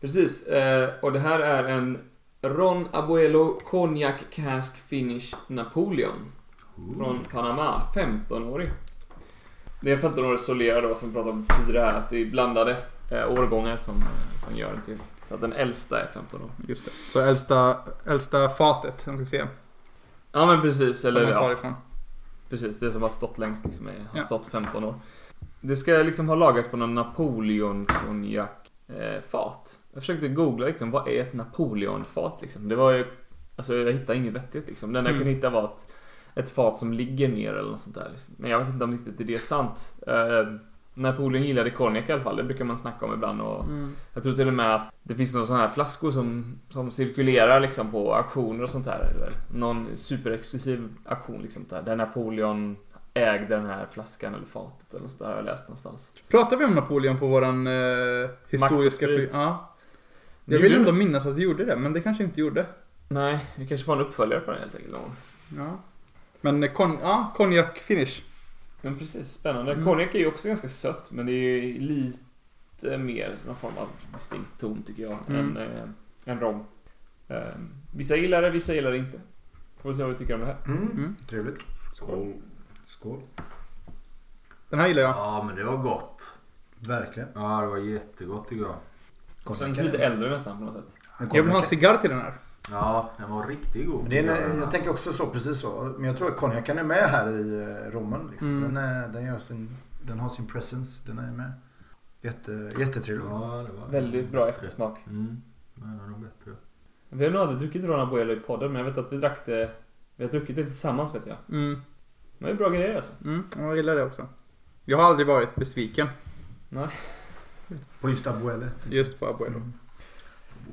C: Precis. Eh, och det här är en Ron Abuelo Cognac Cask Finish Napoleon. Från Panama. 15-årig. Det är en 15-årig Solera då som vi pratade om tidigare här. Att det är blandade eh, årgångar som, som gör den till. Så att den äldsta är 15 år.
B: Just det. Så äldsta, äldsta fatet, om vi ska se.
C: Ja men precis. Eller
B: som man tar
C: ja,
B: ifrån.
C: Precis, det som har stått längst liksom är, har
B: Ja.
C: stått 15 år. Det ska liksom ha lagats på någon napoleon konjak eh, fat Jag försökte googla liksom, vad är ett Napoleon-fat liksom? Det var ju... Alltså jag hittade inget vettigt liksom. Det enda jag
B: Mm.
C: kunde hitta var ett, ett fat som ligger ner eller något sånt där. Liksom. Men jag vet inte om riktigt det är sant. Eh, Napoleon gillade konjak i alla fall, det brukar man snacka om ibland och jag tror till och med att det finns några sådana här flaskor som, som cirkulerar liksom på auktioner och sånt här. Eller någon superexklusiv auktion liksom där, där Napoleon ägde den här flaskan eller fatet eller något sånt där har jag läst någonstans.
B: Pratar vi om Napoleon på våran eh, historiska...
C: Makt och
B: fri-
C: sprit.
B: Ja.
C: Nu
B: Jag vill
C: gjorde-
B: ändå minnas att vi gjorde det, men det kanske inte gjorde.
C: Nej, det kanske var en uppföljare på den helt enkelt. någon gång.
B: Ja. Men eh, kon- ja, konjak finish.
C: Men precis, spännande.
B: Mm.
C: Konjak är ju också ganska sött men det är ju lite mer som någon form av distinkt ton tycker jag
B: Mm.
C: än, eh, än rom. Eh, vissa gillar det, vissa gillar det inte. Får vi se vad vi tycker om det här.
D: Mm.
B: Mm.
D: Trevligt.
E: Skål. Skål.
B: Den här gillar jag.
E: Ja men det var gott.
D: Verkligen.
E: Ja det var jättegott tycker jag.
C: Och sen lite äldre nästan på något sätt.
B: Jag vill ha en cigarr till den här.
E: Ja den var riktigt god.
D: Men Det är, en-
E: Ja,
D: jag tänker också så, precis så. Men jag tror att konjaken är med här i eh, rommen. Liksom.
B: Mm.
D: Den, är, den, gör sin, den har sin presence, den är med. Jätte, jättetrevlig.
E: Ja, det var
C: Väldigt bra eftersmak.
E: Mm. Men den var bättre.
C: Vi har nog aldrig druckit Rona Buello i podden, men jag vet att vi drack det... Vi har druckit det tillsammans vet jag.
B: Mm.
C: Men det är bra grejer alltså.
B: Mm. Jag gillar det också. Jag har aldrig varit besviken
D: På just Abuele.
B: just på abuelo.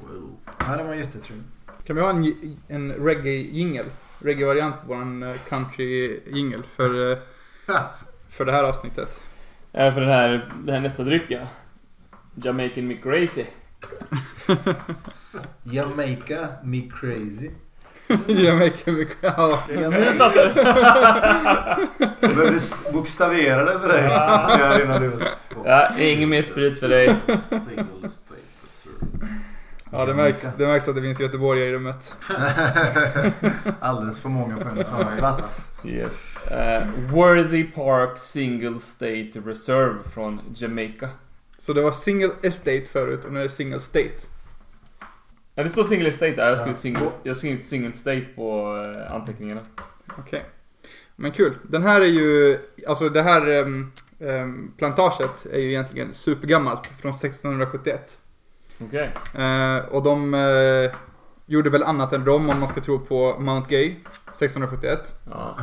E: Wow.
D: Ja, den var jättetrevlig.
B: Kan vi ha en, j- en reggae-jingel? Reggae-variant på våran eh, country-jingel för, eh, för det här avsnittet.
C: Äh, för den här, den här nästa dryck ja. Jamaican Mick Gracie.
D: Jamaica me crazy.
B: Jamaica mycket. Ja.
C: Nu fattar du!
D: Jag behöver bokstavera det för dig. Ja, innan du...
C: Ja, det är ingen mer sprit för dig.
E: Single straight for sure.
B: ja, det märks, det märks att det finns göteborgare i rummet.
D: Alldeles för många på en och samma plats.
C: Yes. Eh, Worthy Park Single State Reserve från Jamaica.
B: Så det var single estate förut och nu är det single state.
C: Ja, det står single state där. Jag har skrivit
D: Ja.
C: single, jag har skrivit single state på eh, anteckningarna.
B: Okej. Men kul. Den här är ju, alltså det här ehm, ehm, plantaget är ju egentligen supergammalt från 1671.
C: Okej.
B: Eh, och de eh, gjorde väl annat än rom om man ska tro på Mount Gay 1671.
C: Ja.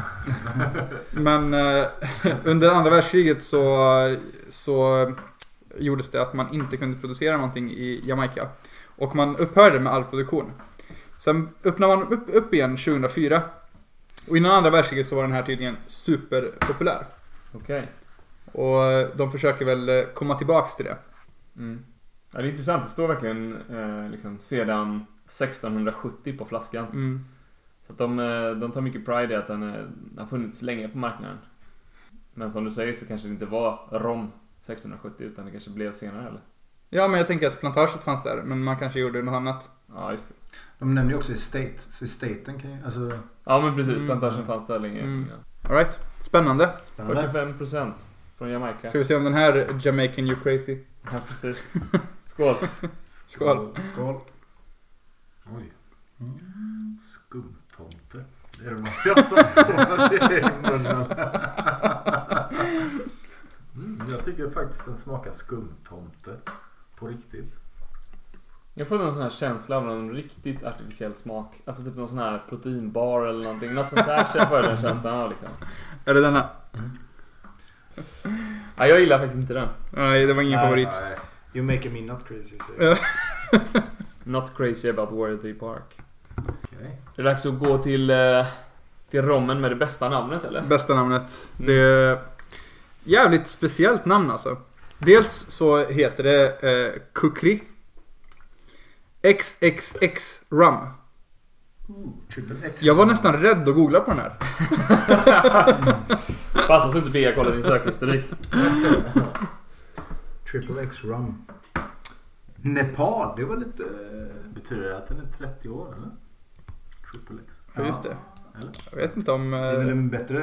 B: Men eh, under andra världskriget så, så gjordes det att man inte kunde producera någonting i Jamaica. Och man upphörde med all produktion. Sen öppnade man upp, upp igen 2004. Och innan andra världskriget så var den här tydligen superpopulär.
C: Okej.
B: Och eh, de försöker väl eh, komma tillbaks till det.
C: Mm. Ja, det är intressant. Det står verkligen eh, liksom, sedan 1670 på flaskan.
B: Mm.
C: Så att de, eh, de tar mycket pride i att den eh, har funnits länge på marknaden. Men som du säger så kanske det inte var rom 1670 utan det kanske blev senare eller?
B: Ja men jag tänker att plantaget fanns där men man kanske gjorde något annat.
C: Ja just det.
D: De nämner ju också estate. Så estaten kan ju... Alltså,
C: Ja men precis,
B: Mm.
C: plantagen fanns där länge.
B: Mm. Alright, spännande.
D: spännande.
C: 45% från Jamaica.
B: Ska vi se om den här Jamaican You Crazy.
C: Ja precis. Skål.
B: Skål.
D: Skål.
E: Oj.
B: Mm.
E: Skumtomte.
D: Det är det många som får det i munnen.
E: Mm, jag tycker faktiskt den smakar skumtomte. På riktigt.
C: Jag får någon sån här känsla av någon riktigt artificiell smak. Alltså typ någon sån här proteinbar eller någonting. Något sånt där får jag den känslan av liksom.
B: Är det denna?
C: Ja, jag gillar faktiskt inte den.
B: Nej, det var ingen
D: Nej,
B: favorit.
D: nej. You making me not crazy. säger
B: Ja.
D: jag.
C: Not crazy about Worthy Park.
E: Okej.
C: Det är dags att gå till, eh, till rommen med det bästa namnet eller?
B: Bästa namnet. Det är jävligt speciellt namn alltså. Dels så heter det eh, Kukri. XXX Rum.
D: Triple X.
B: Jag var nästan rädd att googla på den här.
D: Mm.
C: Passar så inte Bea kollar din sökhistorik.
D: Triple X rum. Nepal, det var lite... eh,
E: Betyder det att den är 30 år eller? Triple X?
B: Ja, just det.
E: Eller?
B: Jag vet inte om...
D: Det är väl
B: Eh,
D: en bättre...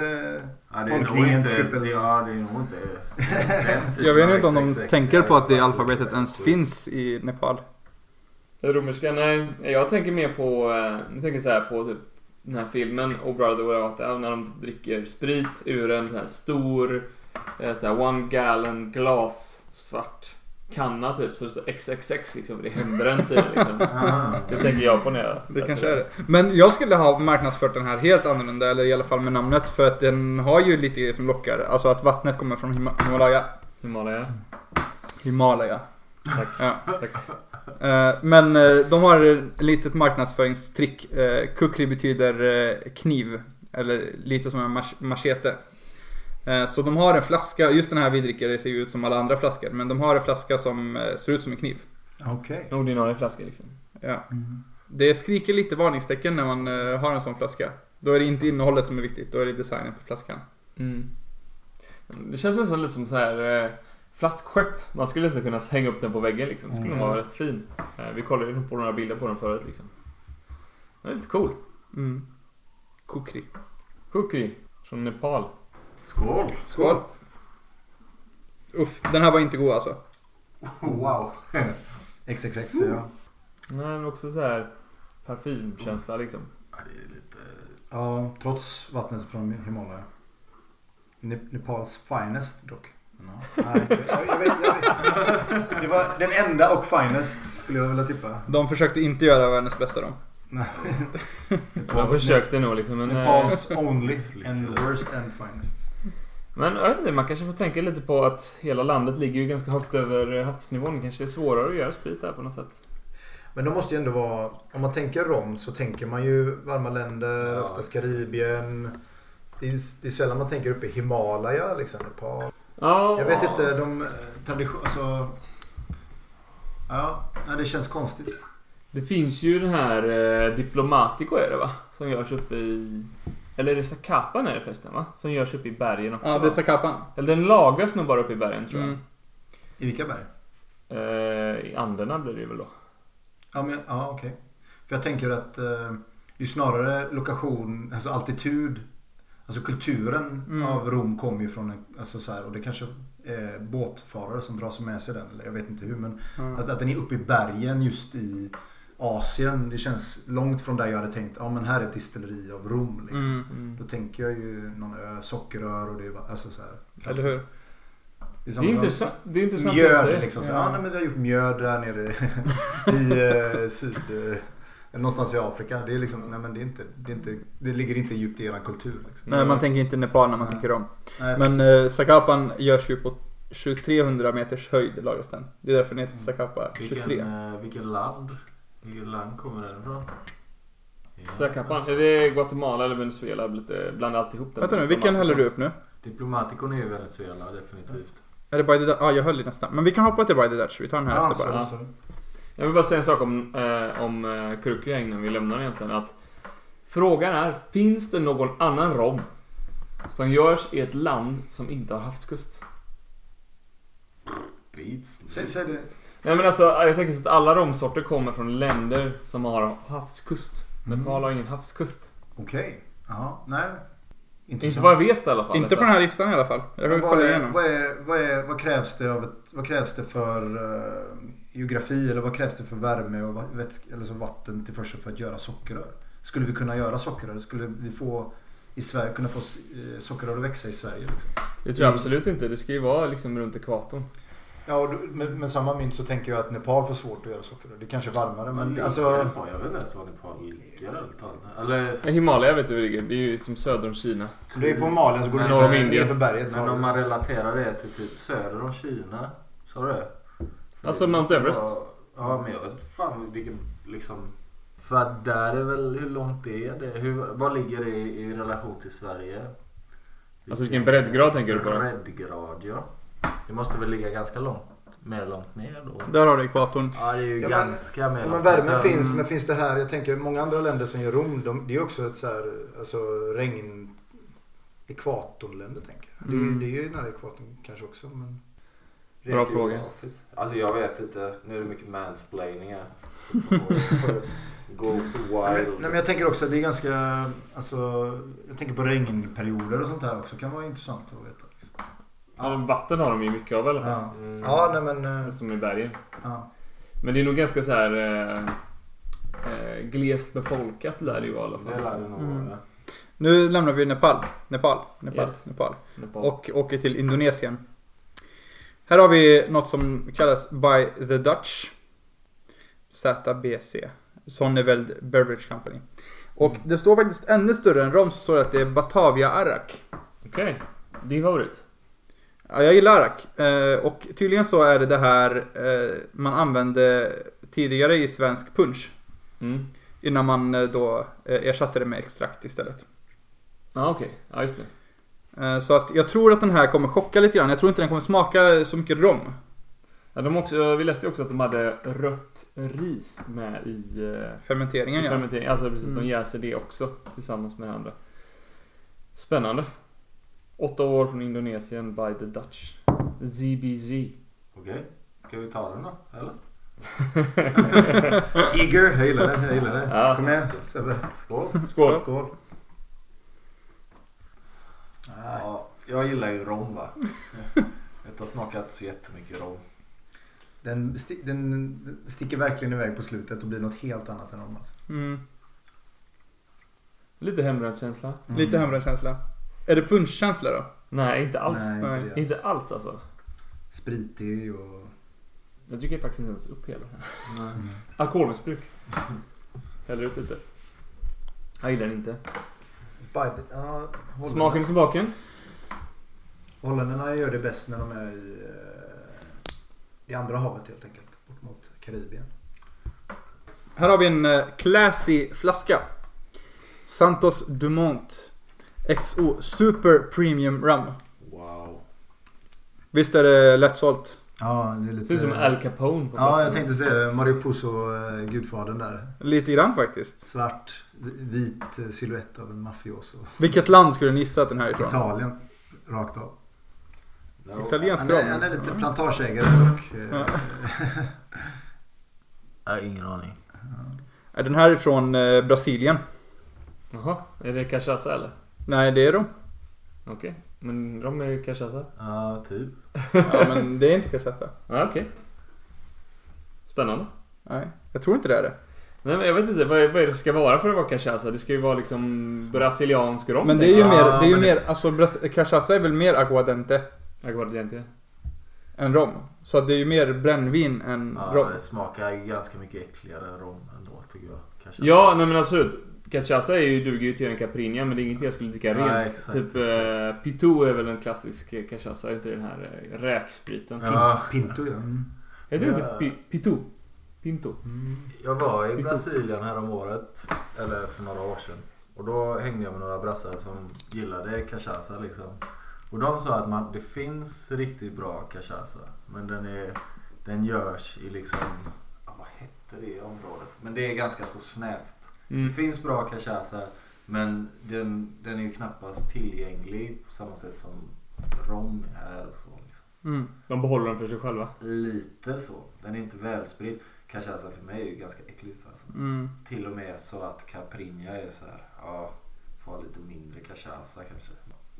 E: Ja, det är nog
D: Tolkningen
E: inte...
D: triple-
E: Ja, det är nog inte... den
D: typ
E: typen
B: jag vet
E: av
B: inte om de
E: XXX.
B: tänker på att det alfabetet
E: Jag
B: ens
E: tror-
B: finns i Nepal.
C: Romerska? Nej, jag tänker mer på, eh, jag tänker så här på typ den här filmen Oh Brother Where Art Thou när de typ dricker sprit ur en sån här stor, eh, så här one gallon glas svart kanna typ så det står XXX liksom, det är hembränt i det, liksom.
D: Ah,
C: Det tänker jag på när jag
B: Det
C: läser
B: kanske är det. Men jag skulle ha marknadsfört den här helt annorlunda, eller i alla fall med namnet. För att den har ju lite grejer som lockar. Alltså att vattnet kommer från Hima- Himalaya.
C: Himalaya.
B: Himalaya.
C: Tack.
B: Ja.
C: Tack.
B: Eh, Men eh, de har ett litet marknadsföringstrick. Eh, Kukri betyder eh, kniv. Eller lite som en mach- machete. Eh, Så de har en flaska, just den här vi dricker det ser ju ut som alla andra flaskor. Men de har en flaska som eh, ser ut som en kniv.
D: Okej.
C: En ordinarie flaska liksom.
B: Ja. Det skriker lite varningstecken när man eh, har en sån flaska. Då är det inte innehållet som är viktigt, då är det designen på flaskan.
C: Mm. Det känns nästan lite som så här eh, flaskskepp. Man skulle nästan kunna hänga upp den på väggen liksom. Det skulle nog vara rätt fin. Eh, vi kollade ju på några bilder på den förut liksom. Den är lite cool.
B: Mm. Kukri.
C: Kukri från Nepal.
E: Skål!
B: Skål! Uff, den här var inte god alltså.
E: Wow!
D: XXX säger jag.
C: Nej, men också så här parfymkänsla liksom.
E: Ja, det är lite...
D: Ja, trots vattnet från Himalaya. Ne- Nepals finest dock.
E: No.
D: Nej, jag, jag, vet, jag vet. Det var den enda och finest skulle jag vilja tippa.
B: De försökte inte göra världens bästa de.
D: Nej.
C: Man försökte nog liksom men... eh,
D: Nepals only and worst and finest.
C: Men jag vet inte, man kanske får tänka lite på att hela landet ligger ju ganska högt över eh, havsnivån. Kanske det är svårare att göra sprit där på något sätt.
D: Men de måste ju ändå vara, om man tänker rom så tänker man ju varma länder,
E: Ja,
D: oftast
E: exakt.
D: Karibien. Det är, det är sällan man tänker uppe i Himalaya liksom, Nepal.
C: Ja,
D: Jag vet inte, de tradition, alltså. Ja, nej, det känns konstigt.
C: Det finns ju den här eh, Diplomatico är det va? Som görs uppe i... Eller är det Zacapan är det förresten va? Som görs uppe i bergen också
B: Ja, det
C: va?
B: är Zacapan.
C: Eller den lagras nog bara uppe i bergen tror jag.
B: Mm.
D: I vilka berg?
C: Eh, I Anderna blir det ju väl då.
D: Ja, men, ja okej. För jag tänker att eh, ju snarare lokation, alltså altitud, alltså kulturen
B: Mm.
D: av Rom kommer ju från, en- alltså så här, och det kanske är båtfarare som dras med sig den, eller jag vet inte hur, men
B: Ja.
D: att, att den är uppe i bergen just i Asien, det känns långt från där jag hade tänkt, ja men här är ett distilleri av Rom liksom.
B: Mm.
D: Då tänker jag ju någon ö, sockerrör och det är va- alltså så här.
B: Eller hur?
D: Det är
C: Det är
D: samma sak.
C: intressant. Det är intressant det du
D: Mjöd
C: säger.
D: liksom. Så,
B: Ja.
D: ja, nej, men vi har gjort mjöd där nere i eh, syd... Eh, någonstans i Afrika. Det är liksom, nej men det är inte, det, är inte, det ligger inte djupt i eran kultur. Liksom.
B: Nej, man tänker inte Nepal när man
D: Nej.
B: tänker om.
D: Nej,
B: Men
D: precis.
B: eh, Zacapan görs ju på 2300 meters höjd, lagras den. Det är därför den heter Zacapa 23.
E: Vilken, eh, vilken land? Vilket land kommer den ifrån? Ja.
C: Zacapan. Är det Guatemala eller Venezuela? Lite- Blanda alltihop den.
B: Vänta nu, vilken häller du upp nu?
E: Diplomaticon är ju Venezuela definitivt.
B: Är det By the Dutch? Ja, jag höll i nästan. Men vi kan hoppa till By the Dutch. Vi tar den här
D: Ja,
B: efter bara.
D: sorry,
C: Ja.
D: sorry.
C: Jag vill bara säga en sak om, eh, om eh, Krukria innan vi lämnar egentligen. Att frågan är, finns det någon annan rom som görs i ett land som inte har havskust?
D: Säg, säg det.
C: Nej men alltså, jag tänker så att alla romsorter kommer från länder som har havskust. Nepal har ingen havskust.
D: Okej. Jaha, nej.
C: Inte
D: Intressant.
C: vad jag vet i alla fall.
B: Inte på den här listan i alla fall. Jag får
D: Men Vad,
B: kolla
D: är,
B: igenom.
D: vad, är, vad, är, vad krävs det av ett, vad krävs det för eh, geografi eller vad krävs det för värme och va- vätsk, eller så vatten till för att göra sockerrör? Skulle vi kunna göra sockerrör? Skulle vi få i Sverige kunna få eh, sockerrör att växa i Sverige? Liksom?
C: Det tror jag absolut inte. Det ska ju vara liksom runt ekvatorn.
D: Ja, och du- med, med samma mynt så tänker jag att Nepal får svårt att göra sockerrör. Det kanske är varmare men
F: ligger
D: alltså...
F: Nepal? Jag vet inte ens var Nepal ligger ärligt talat. Eller...
C: Ja, Himalaya vet du hur det ligger. Det är ju som söder om Kina.
D: Om du är på Malen så går du
F: Men
D: ner
C: norr om
D: för-
C: Indien.
D: ner för berget. så
F: Men
D: har
F: om
D: du-
F: man relaterar det till typ söder om Kina. Sa du det? För
C: Alltså
F: det måste
C: Mount Everest.
F: vara- Ja men jag vet fan vilken liksom. För att där är väl, hur långt är det? Hur, vad ligger det i, i relation till Sverige?
C: Alltså vilken breddgrad tänker du på? då?
F: Breddgrad ja. Det måste väl ligga ganska långt, mer långt ner då?
C: Mm.
B: Där har du ekvatorn.
F: Ja det är ju
D: Ja, men-
F: ganska mer
D: Ja,
F: långt Alltså-
D: men
F: ner.
D: värmen
F: Sen-
D: finns, men finns det här? Jag tänker många andra länder som gör Rom, de, det är ju också ett så här, alltså regn... Ekvatorländer tänker jag. Det, är ju-
B: Mm.
D: det är ju nära ekvatorn kanske också. Men...
F: Rent
C: Bra fråga.
F: geografiskt. Alltså jag vet inte. Nu är det mycket mansplaining här. Så får- Goes
D: Nej,
F: wild.
D: men, nej, men jag tänker också att det är ganska, alltså, jag tänker på regnperioder och sånt här också. kan vara intressant att veta. liksom.
C: Ja, men vatten har de ju mycket av i alla fall.
D: Ja,
F: Mm.
D: ja nej men... eh,
C: Som i bergen.
D: Ja.
C: Men det är nog ganska så här eh, eh, glest befolkat lär det ju vara i alla
F: Det lär
C: fall.
F: det nog
B: Mm.
F: vara.
B: Nu lämnar vi Nepal. Nepal. Nepal.
C: Yes.
B: Nepal.
C: Nepal.
B: Och åker till Indonesien. Här har vi något som kallas By the Dutch. ZBC. Sonneveld Beverage Company. Och
C: Mm.
B: det står faktiskt ännu större än rom så står det att det är Batavia Arak.
C: Okej. Din favorit?
B: Ja, jag gillar Arak. Eh, och tydligen så är det det här eh, man använde tidigare i svensk punch.
C: Mm.
B: Innan man eh, då eh, ersatte det med extrakt istället.
C: Ja okej. Ja just det.
B: Eh, Så att jag tror att den här kommer chocka lite grann. Jag tror inte den kommer smaka så mycket rom.
C: Ja, de också, eh, vi läste ju också att de hade rött ris med i, eh, i
B: Fermenteringen ja.
C: fermenteringen. Alltså precis,
B: Mm.
C: de jäser det också tillsammans med andra. Spännande. Åtta år från Indonesien by the Dutch. ZBZ.
F: Okej. Ska vi ta den då? Eller?
D: Eager, jag gillar det. Jag gillar det.
C: Ja.
D: Kom igen Sebbe.
F: Skål.
C: Skål.
D: Skål. Nej.
F: Ja, jag gillar ju rom va. Jag har inte smakat så jättemycket rom.
D: Den, sti- den, den sticker verkligen iväg på slutet och blir något helt annat än om alltså.
B: Mm.
C: Lite hembränd känsla.
B: Mm.
D: Mm.
B: Lite hembränd känsla. Är det punschkänsla då?
C: Nej, inte alls.
D: Nej,
B: nej,
D: inte det
C: Inte
D: alls.
C: alls alltså.
D: Spritig och...
C: Jag dricker faktiskt inte ens upp hela den här. Alkoholmissbruk. Häller ut lite. Jag gillar den inte.
D: Bite- Ja, holländarna-
C: Smaken är som baken.
D: Holländarna gör det bäst när de är i, eh, i andra havet helt enkelt. Bort mot Karibien.
B: Här har vi en eh, classy flaska. Santos Dumont XO Super Premium Rum.
F: Wow.
B: Visst är det lättsålt?
D: Ja, det är lite...
C: Ser ut som Mm. Al Capone på
D: Ja,
C: flaskan.
D: jag tänkte säga Mario Puzo, eh, gudfadern där.
B: Lite grann faktiskt.
D: Svart, vi- vit eh, silhuett av en mafioso.
B: Vilket land skulle ni gissa att den här är ifrån?
D: Italien, rakt av.
F: No.
B: Italiensk
D: Han är,
B: rom.
D: han är lite plantageägare och... eh,
B: Ja.
F: Jag har ingen aning.
B: Är Den här är från eh, Brasilien.
C: Jaha, är det cachaça eller?
B: Nej, det är rom.
C: Okej, men de är ju cachaça.
F: Ja, typ.
B: Ja, men det är inte cachaça.
C: Ja, okej. Spännande.
B: Nej, jag tror inte det är det.
C: Nej men jag vet inte, vad är, vad är det ska vara för att vara cachaça? Det ska ju vara liksom brasiliansk rom.
B: Men det är ju
F: Ah,
B: mer, det är ju
F: men
B: mer,
F: det-
B: alltså bras- cachaça är väl mer aguardente
C: Aguardiente.
B: än rom. Så att det är ju mer brännvin än
F: Ja,
B: rom.
F: det smakar ju ganska mycket äckligare än rom ändå tycker jag. Kanske.
C: Ja, nej men absolut. Cachaça är ju, duger ju till en caipirinha men det är inget jag skulle dricka
F: Nej,
C: rent.
F: exakt,
C: typ Eh, Pitou är väl en klassisk eh, cachaça, är inte den här eh, räkspriten?
F: Ja.
D: Pinto ja. Mm.
C: Heter det inte
F: Ja.
C: pi- Pitou? Pinto?
F: Jag var i
C: Lite-
F: Brasilien härom året eller för några år sedan. Och då hängde jag med några brassar som gillade cachaça liksom. Och de sa att man, det finns riktigt bra cachaça. Men den, är, den görs i liksom, ja, vad hette det området? Men det är ganska så snävt.
C: Mm.
F: Det finns bra cachaça men den, den är ju knappast tillgänglig på samma sätt som rom är och så. Liksom.
B: Mm.
C: De behåller den för sig själva.
F: Lite så. Den är inte välspridd. Cachaça för mig är ju ganska äckligt. Alltså.
B: Mm.
F: Till och med så att Caprinha är så här. Ja, får ha lite mindre cachaça kanske.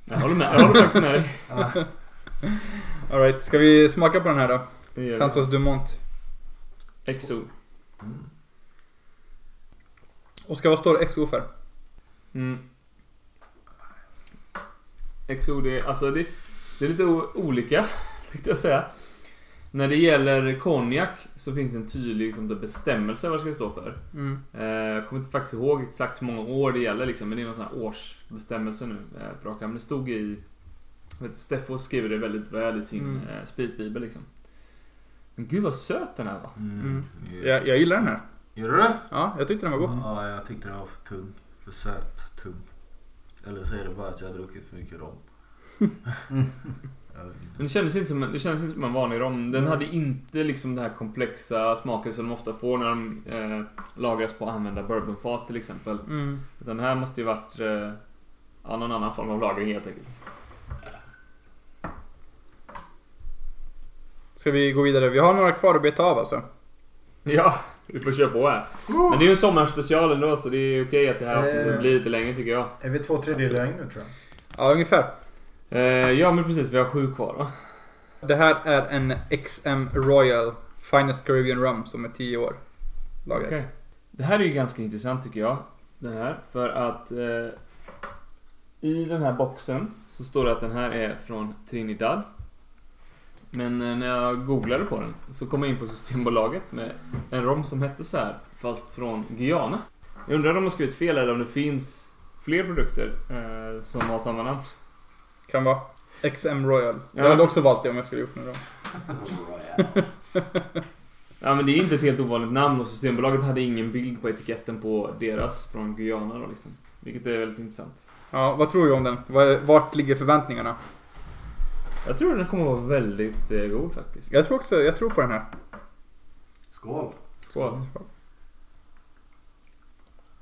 C: Jag håller med, jag håller faktiskt med dig.
B: All right, ska vi smaka på den här då?
C: Det gör
B: Santos Dumont.
C: vi. XO.
F: Mm.
B: Och ska vad står XO för?
C: Mm. XO, det är, alltså det, det är lite o- olika, tänkte jag säga. När det gäller konjak så finns det en tydlig liksom, bestämmelse vad det ska stå för.
B: Mm.
C: Eh, Jag kommer inte faktiskt ihåg exakt hur många år det gäller liksom, men det är någon sån här årsbestämmelse nu. eh, på rak arm. Men det stod i... jag Vet, Steffo skriver det väldigt väl i sin
B: Mm.
C: eh, spritbibel liksom. Men gud vad söt den här var.
B: Mm.
F: Gör
B: Jag, jag gillar den här.
F: gör du det?
B: Ja, jag tyckte den var god.
F: Ja, jag tyckte den var för tung. För söt tung. Eller så är det bara att jag har druckit för mycket rom. Jag vet inte.
C: Men det kändes inte som en, det kändes inte som en vanlig rom. Den hade inte liksom den här komplexa smaken som de ofta får när de eh, lagras på använda bourbonfat till exempel.
B: Mm.
C: Utan den här måste ju varit eh, ja, någon annan form av lagring helt enkelt.
B: Ska vi gå vidare? Vi har några kvar att beta av alltså.
C: Ja, vi får köra på här. Men det är ju en sommarspecial ändå så det är okej att det här avsnittet
D: Eh.
C: blir lite längre tycker jag.
D: Är vi två tredjedelar in nu tror jag?
B: Ja, ungefär.
C: Eh, ja men precis, vi har sju kvar va?
B: Det här är en XM Royal Finest Caribbean Rum som är 10 år. Lagat.
C: Okej. Det här är ju ganska intressant tycker jag. Den här. För att eh, i den här boxen så står det att den här är från Trinidad. Men eh, när jag googlade på den så kom jag in på Systembolaget med en rom som hette så här fast från Guyana. Jag undrar om de har skrivit fel eller om det finns fler produkter eh, som har samma namn.
B: Kan vara. XM Royal. Jag
C: Ja.
B: hade också valt det om jag skulle gjort några.
C: Ja men det är inte ett helt ovanligt namn och Systembolaget hade ingen bild på etiketten på deras från Guyana då liksom. Vilket är väldigt intressant.
B: Ja, vad tror du om den? Vad- Vart ligger förväntningarna?
C: Jag tror den kommer att vara väldigt eh, god faktiskt.
B: Jag tror också, jag tror på den här.
F: Skål!
C: Skål.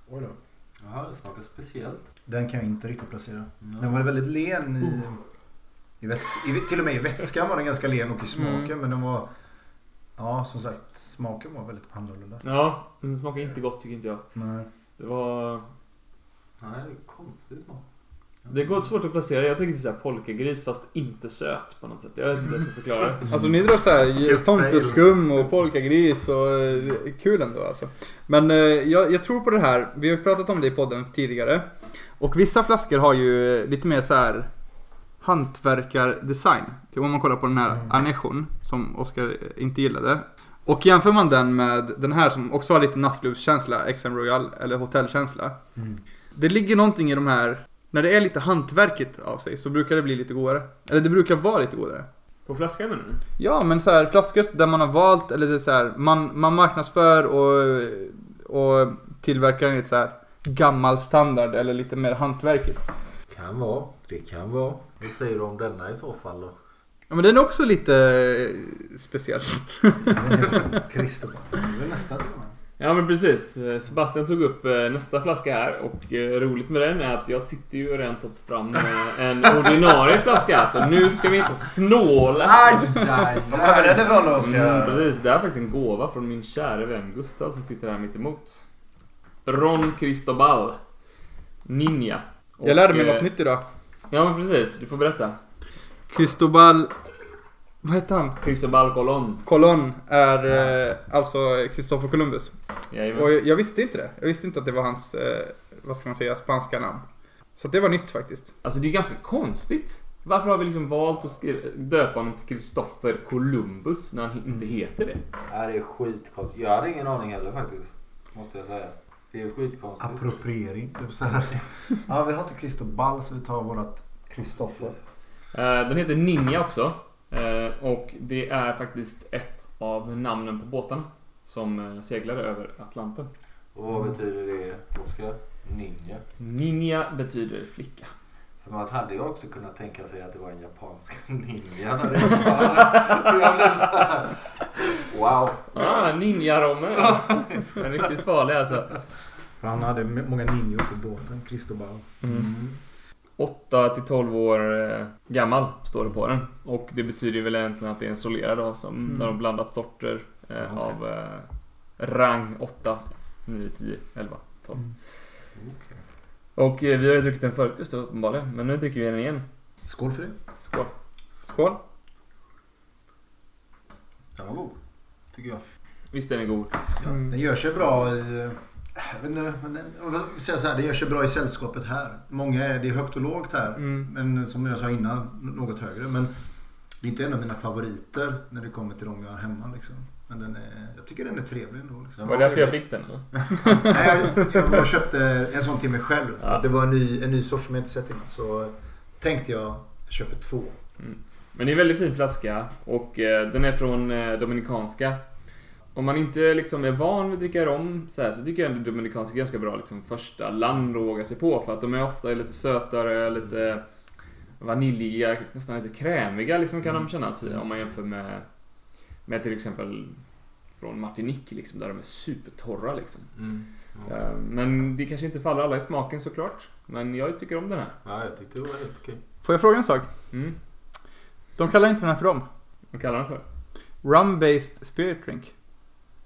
D: Oj då.
F: Jaha, det smakar speciellt.
D: Den kan jag inte riktigt placera.
F: Ja.
D: Den var väldigt len i... i, väts, i till och med i vätskan var den ganska len och i smaken.
B: Mm.
D: Men den var... Ja, som sagt. Smaken var väldigt annorlunda.
C: Ja, men den smakar inte gott tycker inte jag.
D: Nej.
C: Det var...
F: Nej, det är konstig smak.
C: Det går svårt att placera. Jag tänkte såhär polkagris fast inte söt på något sätt. Jag vet inte hur jag ska förklara det.
B: Alltså ni drar såhär tomteskum och polkagris och eh, kul ändå alltså. Men eh, jag, jag tror på det här. Vi har ju pratat om det i podden tidigare. Och vissa flaskor har ju eh, lite mer så här hantverkardesign. Typ om man kollar på den här
D: Mm.
B: Anechon som Oskar inte gillade. Och jämför man den med den här som också har lite nattklubbskänsla, XM Royal, eller hotellkänsla.
D: Mm.
B: Det ligger någonting i de här, när det är lite hantverket av sig så brukar det bli lite godare. Eller det brukar vara lite godare.
C: På flaskan menar du?
B: Ja, men så här, flaskor där man har valt, eller det är så här, man, man marknadsför och, och tillverkar enligt så här gammal standard eller lite mer hantverkigt.
F: Kan vara. Det kan vara. Vad säger du om denna i så fall då?
B: Ja, men den är också lite eh, speciell.
D: Kristoffer. Det är väl nästan till och med.
C: Ja men precis. Eh, Sebastian tog upp eh, nästa flaska här och eh, roligt med den är att jag sitter ju och redan tagit fram eh, en ordinarie flaska här, så nu ska vi inte snåla.
F: Aj, aj,
D: Var kommer den ifrån då Oskar?
C: Mm, precis, det här är faktiskt en gåva från min kära vän Gustav som sitter här mitt emot. Ron Cristobal. Ninja. Och,
B: Jag lärde mig
C: eh,
B: något nytt idag.
C: Ja men precis, du får berätta.
B: Cristobal... Vad heter han?
C: Cristobal Colon.
B: Colon är eh, alltså Kristoffer Columbus.
C: Jajamän.
B: Och jag, jag visste inte det. Jag visste inte att det var hans, eh, vad ska man säga, spanska namn. Så att det var nytt faktiskt.
C: Alltså det är ganska konstigt. Varför har vi liksom valt att skriva, döpa honom till Kristoffer Columbus när han he- inte heter det?
F: Nej, det är skitkonstigt. Jag hade ingen aning heller faktiskt. Måste jag säga. Det är skitkonstigt.
D: Appropriering. Typ så här. Ja, vi har inte Kristobal så vi tar vårat Kristoffer.
C: Eh, Den heter Ninja också. Eh, Och det är faktiskt ett av namnen på båtarna som eh, seglade över Atlanten.
F: Och vad betyder det, Oskar? Ninja.
C: Ninja betyder flicka.
F: För man hade ju också kunnat tänka sig att det var en japansk ninja när det var. Jag blev så här, Wow.
C: Ah, ninjarommen! Den är riktigt farlig alltså.
D: För han hade många ninjor på båten. Kristobal.
C: 8 Mm. till 12 år eh, gammal står det på den. Och det betyder ju väl egentligen att det är en solerad då, som
B: Mm.
C: när de blandat sorter eh,
F: Ja, okej.
C: av eh, rang 8, 9, 10, 11, 12.
F: Okej.
C: Och eh, vi har ju druckit den förut just då, uppenbarligen. Men nu dricker vi den igen.
D: Skål för det.
C: Skål.
B: Skål.
F: Den var god. Tycker jag.
C: Visst den är god?
B: Mm.
D: Den gör sig bra i... Jag vet inte, men den, jag vill säga så här, det gör sig bra i sällskapet här. Många är, det är högt och lågt här.
B: Mm.
D: Men som jag sa innan, något högre. Men Det är inte en av mina favoriter när det kommer till de jag har hemma liksom. Men den är, jag tycker den är trevlig ändå. Liksom.
C: Det var därför jag fick den eller?
D: Nej, jag, jag, jag köpte en sån till mig själv.
C: Ja.
D: Det var en ny, en ny sort som jag inte sett innan. Så tänkte jag, jag köper två.
C: Men det är en väldigt fin flaska och eh, den är från eh, Dominikanska. Om man inte liksom är van vid att dricka rom så, här, så tycker jag ändå Dominikanska är ganska bra liksom, första land att våga sig på för att de är ofta lite sötare, lite vaniljiga, nästan lite krämiga liksom, kan de kännas i, om man jämför med, med till exempel från Martinique liksom, där de är supertorra liksom.
F: Mm. Ja.
C: Eh, Men det kanske inte faller alla i smaken såklart. Men jag tycker om den här.
F: ja, jag tyckte det var helt okej.
B: Får jag fråga en sak?
C: Mm.
B: De kallar inte den här för rom.
C: Vad kallar den för?
B: Rum-based spirit drink.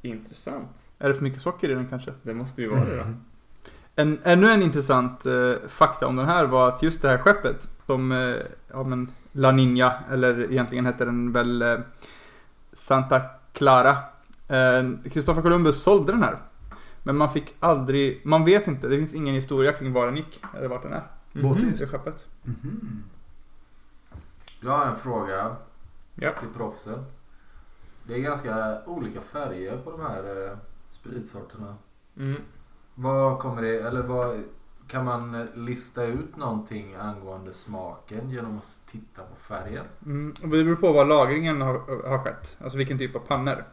C: Intressant.
B: Är det för mycket socker i den kanske?
C: Det måste ju vara det då.
B: En, ännu en intressant eh, fakta om den här var att just det här skeppet som eh, ja, men La Nina, eller egentligen hette den väl eh, Santa Clara. Eh, Kristoffer Columbus sålde den här. Men man fick aldrig, man vet inte, det finns ingen historia kring var den gick eller vart den är.
C: Mm-hmm.
D: Båten
B: Det skeppet.
D: Mhm.
F: Jag har en fråga
C: Ja.
F: till proffsen. Det är ganska olika färger på de här eh, spritsorterna.
C: Mm.
F: Vad kommer det, eller vad, kan man lista ut någonting angående smaken genom att titta på färgen?
B: Mm, och det beror på var lagringen har, har skett. Alltså vilken typ av pannor.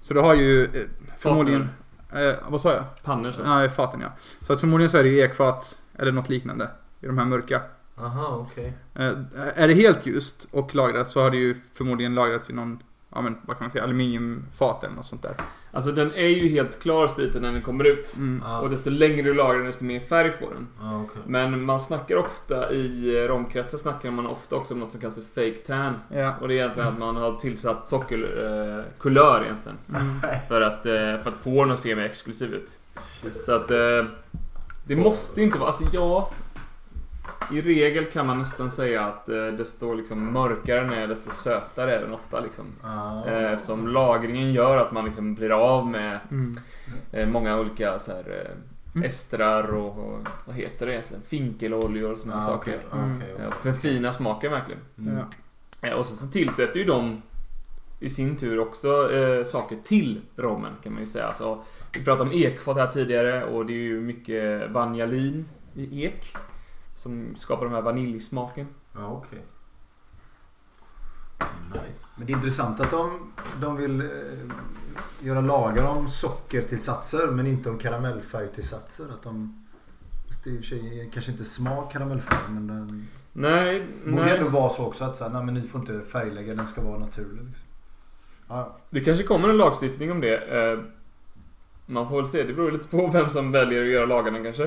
B: Så du har ju eh, förmodligen... Eh, vad sa jag?
C: Pannor så.
B: Nej, faten ja. Så att förmodligen så är det ju ekfat eller något liknande i de här mörka.
F: Aha, okej.
B: Eh, är det helt ljust och lagrat så har det ju förmodligen lagrats i någon, ja men vad kan man säga, aluminiumfat eller något sånt där.
C: Alltså den är ju helt klar spriten när den kommer ut.
B: Mm.
F: Ja,
C: Och desto längre du lagrar den desto mer färg får den.
F: ja, Ah, okej.
C: Men man snackar ofta i eh, romkretsar snackar man ofta också om något som kallas för fake tan.
B: Ja.
C: Och det är egentligen att man har tillsatt sockerkulör eh, kulör egentligen.
B: Mm.
C: För att, eh, för att få den att se mer exklusiv ut. Så att eh, det måste inte vara, alltså ja. I regel kan man nästan säga att eh, desto liksom mörkare den är desto sötare är den ofta liksom.
F: Ja.
C: Eh, Eftersom lagringen gör att man liksom blir av med
B: Mm.
C: eh, många olika så här, eh,
B: Mm.
C: estrar och, och vad heter det egentligen? Finkeloljor och såna här
F: Ja,
C: saker.
F: Ah, okej, okej,
B: Mm.
F: okej.
C: Eh, Förfina smaken verkligen.
F: Mm.
B: Ja.
C: Eh, Och så, så tillsätter ju de i sin tur också eh, saker till rommen kan man ju säga. Alltså, vi pratade om ekfat här tidigare och det är ju mycket vanjalin i ek. Som skapar den här vaniljsmaken.
F: Ja, okej. Nice.
D: Men det är intressant att de, de vill eh, göra lagar om sockertillsatser men inte om karamellfärgtillsatser. Att de, fast det är i och för sig kanske inte smak karamellfärg men den
C: Nej,
D: borde
C: nej.
D: ändå vara så också att så här, nej, men ni får inte färglägga, den ska vara naturlig. Liksom. Ja,
C: Det kanske kommer en lagstiftning om det. Eh, Man får väl se, det beror lite på vem som väljer att göra lagarna kanske.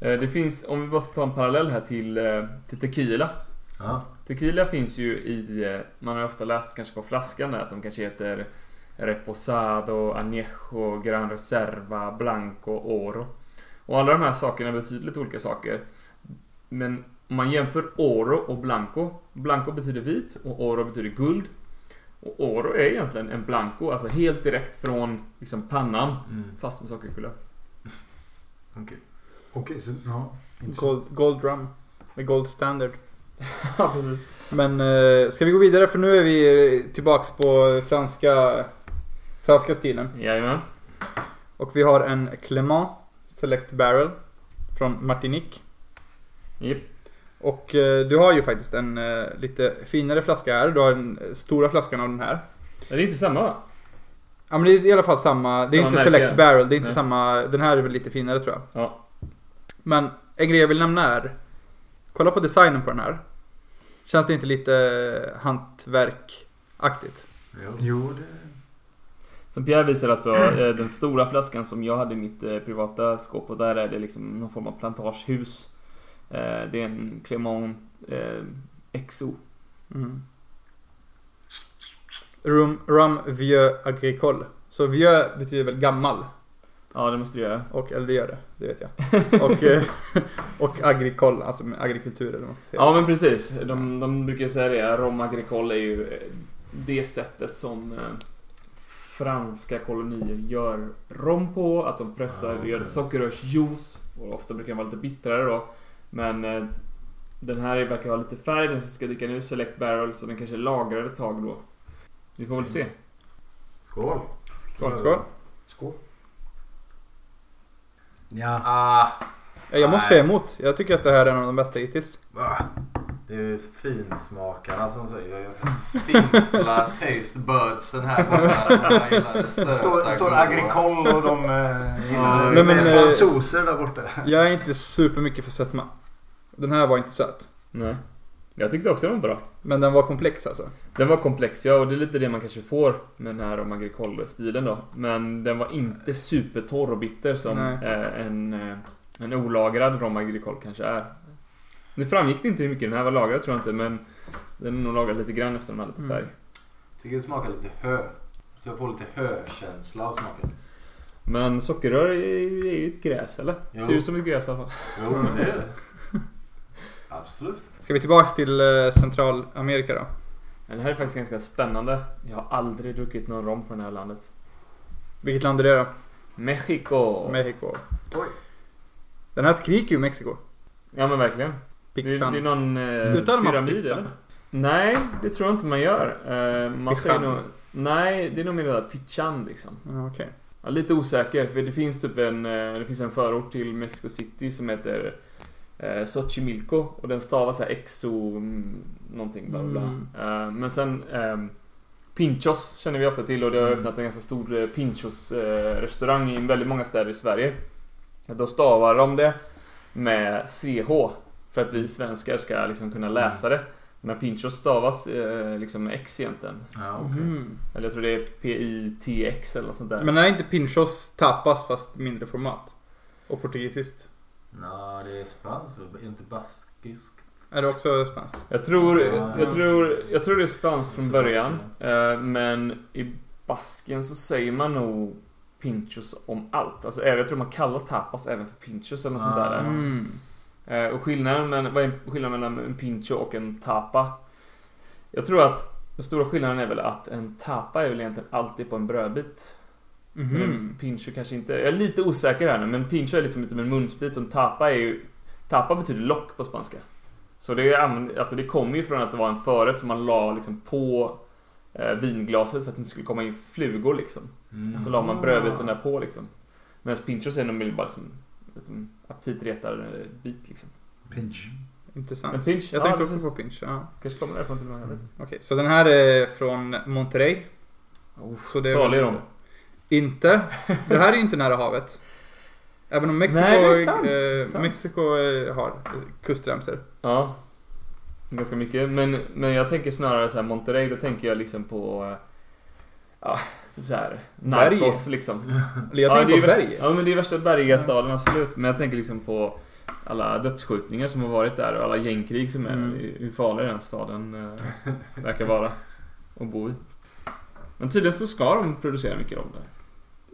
C: Eh, Det finns, om vi bara ska ta en parallell här till, eh, till tequila.
F: Ja.
C: Tequila finns ju i, eh, man har ju ofta läst kanske på flaskan där att de kanske heter Reposado, Añejo, Gran Reserva, Blanco, Oro. Och alla de här sakerna betyder lite olika saker. Men om man jämför Oro och Blanco. Blanco betyder vit och Oro betyder guld. Och Oro är egentligen en Blanco, alltså helt direkt från liksom pannan.
F: Mm.
C: Fast med sockerkulör.
D: Okej, så ja. intressant.
B: Gold, gold rum. Med gold standard.
C: Ja, precis.
B: Men eh, ska vi gå vidare för nu är vi eh, tillbaks på franska, franska stilen.
C: Jajamän.
B: Och vi har en Clément Select Barrel från Martinique.
C: Japp.
B: Och eh, du har ju faktiskt en eh, lite finare flaska här. Du har den eh, stora flaskan av den här.
C: Det är inte samma va?
B: Ja men det är i alla fall samma. Det är
C: Samma
B: inte
C: märke.
B: Select Barrel. Det är inte
C: Nej.
B: samma. Den här är väl lite finare tror jag.
C: Ja.
B: Men en grej jag vill nämna är. Kolla på designen på den här. Känns det inte lite eh, hantverkaktigt?
F: Jo.
D: Jo, det...
C: Som Pierre visar alltså eh, den stora flaskan som jag hade i mitt eh, privata skåp och där är det liksom någon form av plantagehus. Eh, Det är en Clément eh, XO.
B: Mm. Rum, rum vieux agricole. Så vieux betyder väl gammal?
C: Ja, det måste du göra.
B: Och, eller det gör det, det vet jag. Och, eh, och agricole, alltså med agrikultur eller vad man ska säga.
C: Ja, men precis. De, de brukar ju säga det. Rom agricole är ju eh, det sättet som eh, franska kolonier gör rom på. Att de pressar,
F: Ah, okej.
C: gör ett sockerrörsjuice. Och ofta brukar den vara lite bittrare då. Men eh, Den här verkar ha lite färg, den som ska dricka nu, Select Barrel, så den kanske är lagrad ett tag då. Vi får väl se.
F: Skål!
B: Skål. Skål.
D: Skål. Ja.
F: Ah,
B: Ja, Eh, Jag måste
F: Nej.
B: säga emot. Jag tycker att det här är en av de bästa hittills.
F: ah. Det är finsmakarna som säger simpla taste budsen här borta. Man gillar det söta,
D: Står, står
F: goda.
D: Agricol och de eh,
F: Ja,
D: gillar
B: men-
D: det.
B: men,
D: Det
B: eh,
D: är fransoser där borta.
B: Jag är inte supermycket för sötma. Den här var inte söt.
C: Nej. Jag tyckte också den var bra.
B: Men den var komplex alltså.
C: Den var komplex, ja, och det är lite det man kanske får med den här om agricole-stilen då. Men den var inte supertorr och bitter som
B: Nej.
C: eh, en, eh, en olagrad rom agricole kanske är. Nu framgick det inte hur mycket den här var lagrad tror jag inte, men den är nog lagrad lite grann eftersom den har lite
B: Mm.
C: färg.
F: Tycker det smakar lite hö. Så jag får lite hökänsla av smaken.
C: Men sockerrör är ju är ju ett gräs, eller?
F: Jo.
C: Ser ut som ett gräs i alla fall.
F: Jo, men det är det. Absolut.
B: Ska vi tillbaks till eh, Centralamerika då?
C: Men det här är faktiskt ganska spännande. Jag har aldrig druckit någon rom från det här landet.
B: Vilket land är det då?
C: Mexiko!
B: Mexiko.
F: Oj.
B: Den här skriker ju Mexiko.
C: ja men verkligen.
B: Pixan.
C: Det, det är någon eh,
B: Uttalar man
C: pyramid
B: pizza?
C: eller? Nej, det tror jag inte man gör. Eh, man
B: Pichan.
C: säger nog... Nej, det är nog mer det där Pichan liksom.
B: Ja, Okej.
C: Ja, lite osäker, för det finns typ en, eh, det finns en förort till Mexico City som heter eh, Xochimilco och den stavas så här exo mm, någonting bla bla.
B: Mm.
C: Eh, men sen eh, Pinchos känner vi ofta till och det har
F: Mm.
C: öppnat en ganska stor eh, Pinchos eh, restaurang i väldigt många städer i Sverige. Då stavar de det med CH för att vi svenskar ska liksom kunna
B: Mm.
C: läsa det. Men Pinchos stavas eh, liksom med X egentligen.
F: Ja, okej.
B: Mhm.
C: Eller jag tror det är P-I-T-X eller något sånt där.
B: Men är inte Pinchos tapas fast mindre format? Och portugisiskt?
F: Nå, det är spanskt. och Inte baskiskt.
B: Är det också spanskt?
C: Jag tror,
F: Ja.
C: jag tror, jag tror det är spanskt från början.
F: Sebastian.
C: Eh, Men i Basken så säger man nog pinchos om allt. Alltså, även- jag tror man kallar tapas även för pinchos eller något sånt
F: Ja.
C: där.
B: Mm.
C: Eh, Och skillnaden, men, vad är skillnaden mellan en pincho och en tapa? Jag tror att den stora skillnaden är väl att en tapa är väl egentligen alltid på en brödbit.
B: Mhm.
C: Men en pincho kanske inte... Jag är lite osäker här nu, men pincho är liksom lite med en munsbit och en tapa är ju... Tapa betyder lock på spanska. Så det, är, använd- alltså det kommer ju från att det var en förrätt som man la liksom på eh, vinglaset för att det inte skulle komma in flugor liksom.
F: Mm.
C: Så la man brödbiten där på liksom. Medan pinchos är nog mer bara som en liten aptitretarbit liksom.
D: Pinch.
B: Intressant.
C: Men pinch,
B: Jag
C: ja,
B: tänkte också
C: precis.
B: på pinch. Ja.
C: Kanske kommer därifrån till och med, jag vet inte.
B: Okej, så den här är från Monterrey. Så det är
C: Farlig
B: väl-
C: rom.
B: Inte. Det här är ju inte nära havet. Även om Mexiko,
C: Nej, det är sant.
B: eh,
C: Sant.
B: Mexiko eh, har eh, kustremsor.
C: Ja. Ganska mycket. Men, men jag tänker snarare så här Monterrey, då tänker jag liksom på... eh, Ja, typ så här
B: Berg.
C: Narcos liksom.
B: Eller jag
C: ja, det
B: tänker
C: är
B: på
C: värsta,
B: berg.
C: Ja, men det är värsta bergiga staden, absolut. Men jag tänker liksom på alla dödsskjutningar som har varit där och alla gängkrig som är
B: Mm.
C: hur- Hur farlig den staden eh, verkar vara att bo i. Men tydligen så ska de producera mycket rom där.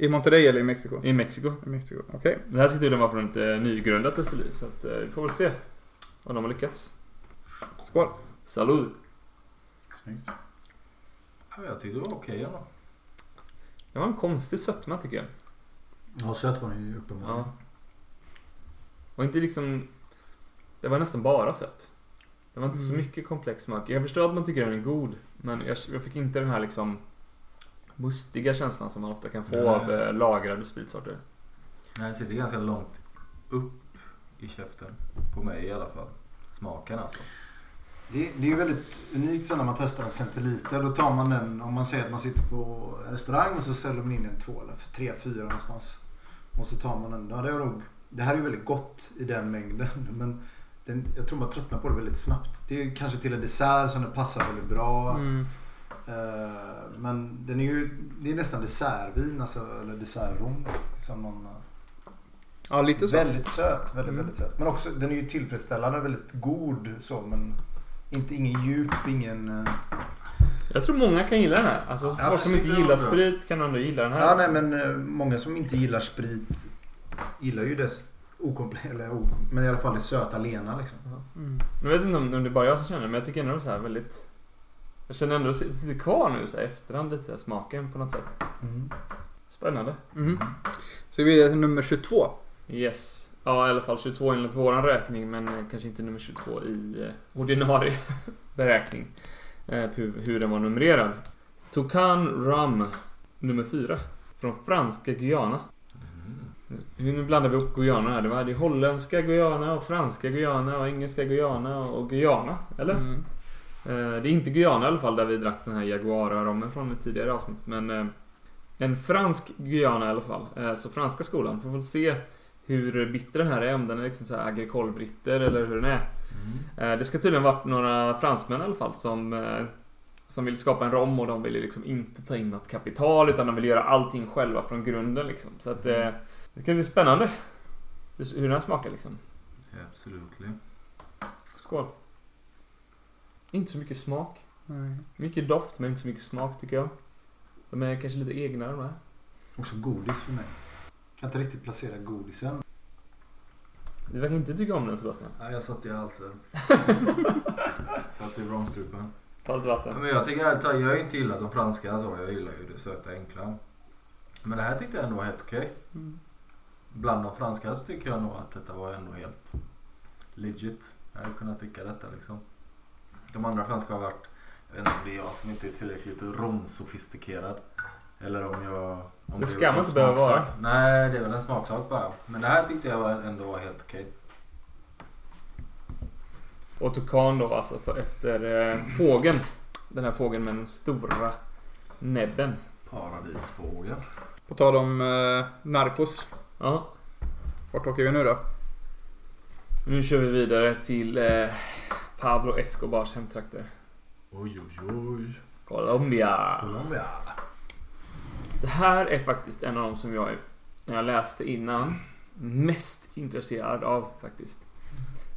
B: I Monterrey eller i Mexiko?
C: I Mexiko.
B: I Mexiko, okej.
C: Det här ska tydligen vara från ett eh, nygrundat destilleri, så att, eh, vi får väl se om de har lyckats.
B: Skål.
C: Salud!
D: Snyggt.
F: Ja, men jag tyckte det var okej ändå.
C: Det var en konstig sötma tycker jag.
D: Ja, sött var den ju uppenbarligen.
C: Ja. Och inte liksom... Det var nästan bara sött. Det var inte så
B: Mm.
C: mycket komplex smak. Jag förstår att man tycker den är god, men jag, jag fick inte den här liksom mustiga känslan som man ofta kan få
F: Nej.
C: av eh, lagrade spritsorter.
F: Den sitter ganska långt upp i käften. På mig i alla fall. Smaken alltså.
D: Det, det är ju väldigt unikt sen när man testar en centiliter. Då tar man den, om man säger att man sitter på en restaurang och så säljer man in en två eller tre, fyra någonstans. Och så tar man den. Ja, det, är nog, det här är ju väldigt gott i den mängden. Men den, jag tror man tröttnar på det väldigt snabbt. Det är ju kanske till en dessert som den passar väldigt bra.
B: Mm.
D: Eh, men den är ju, det är nästan dessertvin, alltså, eller dessertrom. Som någon, eh,
B: Ja, lite så.
D: väldigt söt, väldigt,
B: Mm.
D: väldigt söt. Men också, den är ju tillfredsställande, väldigt god så. Men inte, ingen djup, ingen... eh,
C: Jag tror många kan gilla den här. Alltså
F: Ja,
C: folk som inte
F: det var
C: gillar
F: bra.
C: sprit kan ändå gilla den här.
D: Ja,
C: alltså.
D: nej, men eh, många som inte gillar sprit gillar ju dess okomplett, eller o- men i alla fall det söta lena liksom.
B: Mm.
C: Jag vet inte om om det är bara jag som känner det, men jag tycker ändå så här väldigt... Jag känner ändå att det sitter kvar nu så här, i efterhand lite så här, smaken på något sätt.
D: Mm.
C: Spännande.
B: Mm-hmm. Mhm. Så vi är nummer 22.
C: Yes. Ja, i alla fall 22 enligt våran räkning, men eh, kanske inte nummer 22 i eh, ordinarie beräkning. Eh, hur, hur den var numrerad. Toucan Rum, nummer 4. Från franska Guyana.
F: Mm.
C: Eh, Nu nu blandar vi upp Guyana här. Det var det är holländska Guyana och franska Guyana och engelska Guyana och Guyana, eller?
B: Mm.
C: Eh, Det är inte Guyana i alla fall där vi drack den här Jaguara-rommen från ett tidigare avsnitt. Men eh, en fransk Guyana i alla fall. Eh, Så franska skolan. Får väl se hur bitter den här är. Om den är liksom så här agricole-britter eller hur den är.
F: Mm.
C: Eh, Det ska tydligen varit några fransmän i alla fall som eh, som ville skapa en rom och de ville liksom inte ta in något kapital utan de ville göra allting själva från grunden liksom. Så att eh, det ska bli spännande. hur- Hur den här smakar liksom.
F: Absolutely.
C: Skål. Inte så mycket smak. Mycket doft men inte så mycket smak tycker jag. De är kanske lite egna de här.
D: Också godis för mig. Kan inte riktigt placera godisen.
C: Du verkar inte tycka om den Sebastian.
F: Ja, jag satt i halsen. satt i vrångstrupen.
C: Ta lite
F: Ja,
C: vatten.
F: men jag tycker ärligt talat, jag har ju inte gillat de franska så. Jag gillar ju det söta enkla. Men det här tyckte jag ändå var helt okej.
B: Mm.
F: Bland de franska så tycker jag nog att detta var ändå helt legit. Jag hade kunnat dricka detta liksom. De andra franska har varit, jag vet inte om det är jag som inte är tillräckligt romsofistikerad. Eller om jag... Om
C: Det ska
F: är
C: man
F: en
C: inte behöva vara.
F: smaksak. Nej, det är väl en smaksak bara. Men det här tyckte jag var- ändå var helt okej.
C: Och Tukan då alltså för efter eh, fågeln. Den här fågeln med den stora näbben.
F: Paradisfågel.
B: På tal om eh, Narcos.
C: Ja.
B: Vart åker vi nu då?
C: Nu kör vi vidare till eh, Pablo Escobars hemtrakter.
F: Oj, oj, oj.
C: Colombia.
F: Colombia.
C: Det här är faktiskt en av de som jag, när jag läste innan, mest intresserad av faktiskt.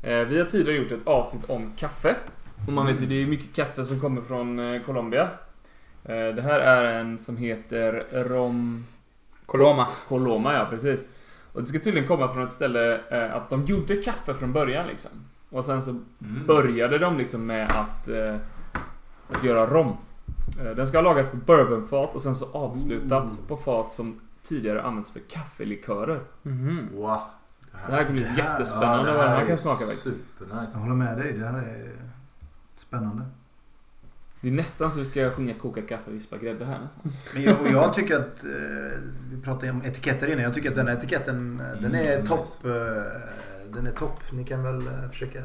C: Eh, Vi har tidigare gjort ett avsnitt om kaffe. Och man vet ju, det är mycket kaffe som kommer från eh, Colombia. Eh, Det här är en som heter Rom...
B: Coloma.
C: Coloma, ja precis. Och det ska tydligen komma från ett ställe eh, att de gjorde kaffe från början liksom. Och sen så
F: Mm.
C: började de liksom med att, eh, att göra rom. Eh, den ska ha lagats på bourbonfat och sen så avslutats på fat som tidigare använts för kaffelikörer. Mm-hmm.
B: Mhm.
F: Wow.
C: Det här kommer bli
D: Ah, Det här-
C: jättespännande vad den här kan smaka faktiskt.
F: Supernice.
D: Jag håller med dig. Det här är spännande.
C: Det är nästan så vi ska sjunga koka kaffe, vispa grädde här nästan.
D: Men jag, och jag tycker att, eh, vi pratade om etiketter innan, jag tycker att den här etiketten eh, den är
F: Mm,
D: topp. eh, den är topp. Ni kan väl eh, försöka...
C: Ja,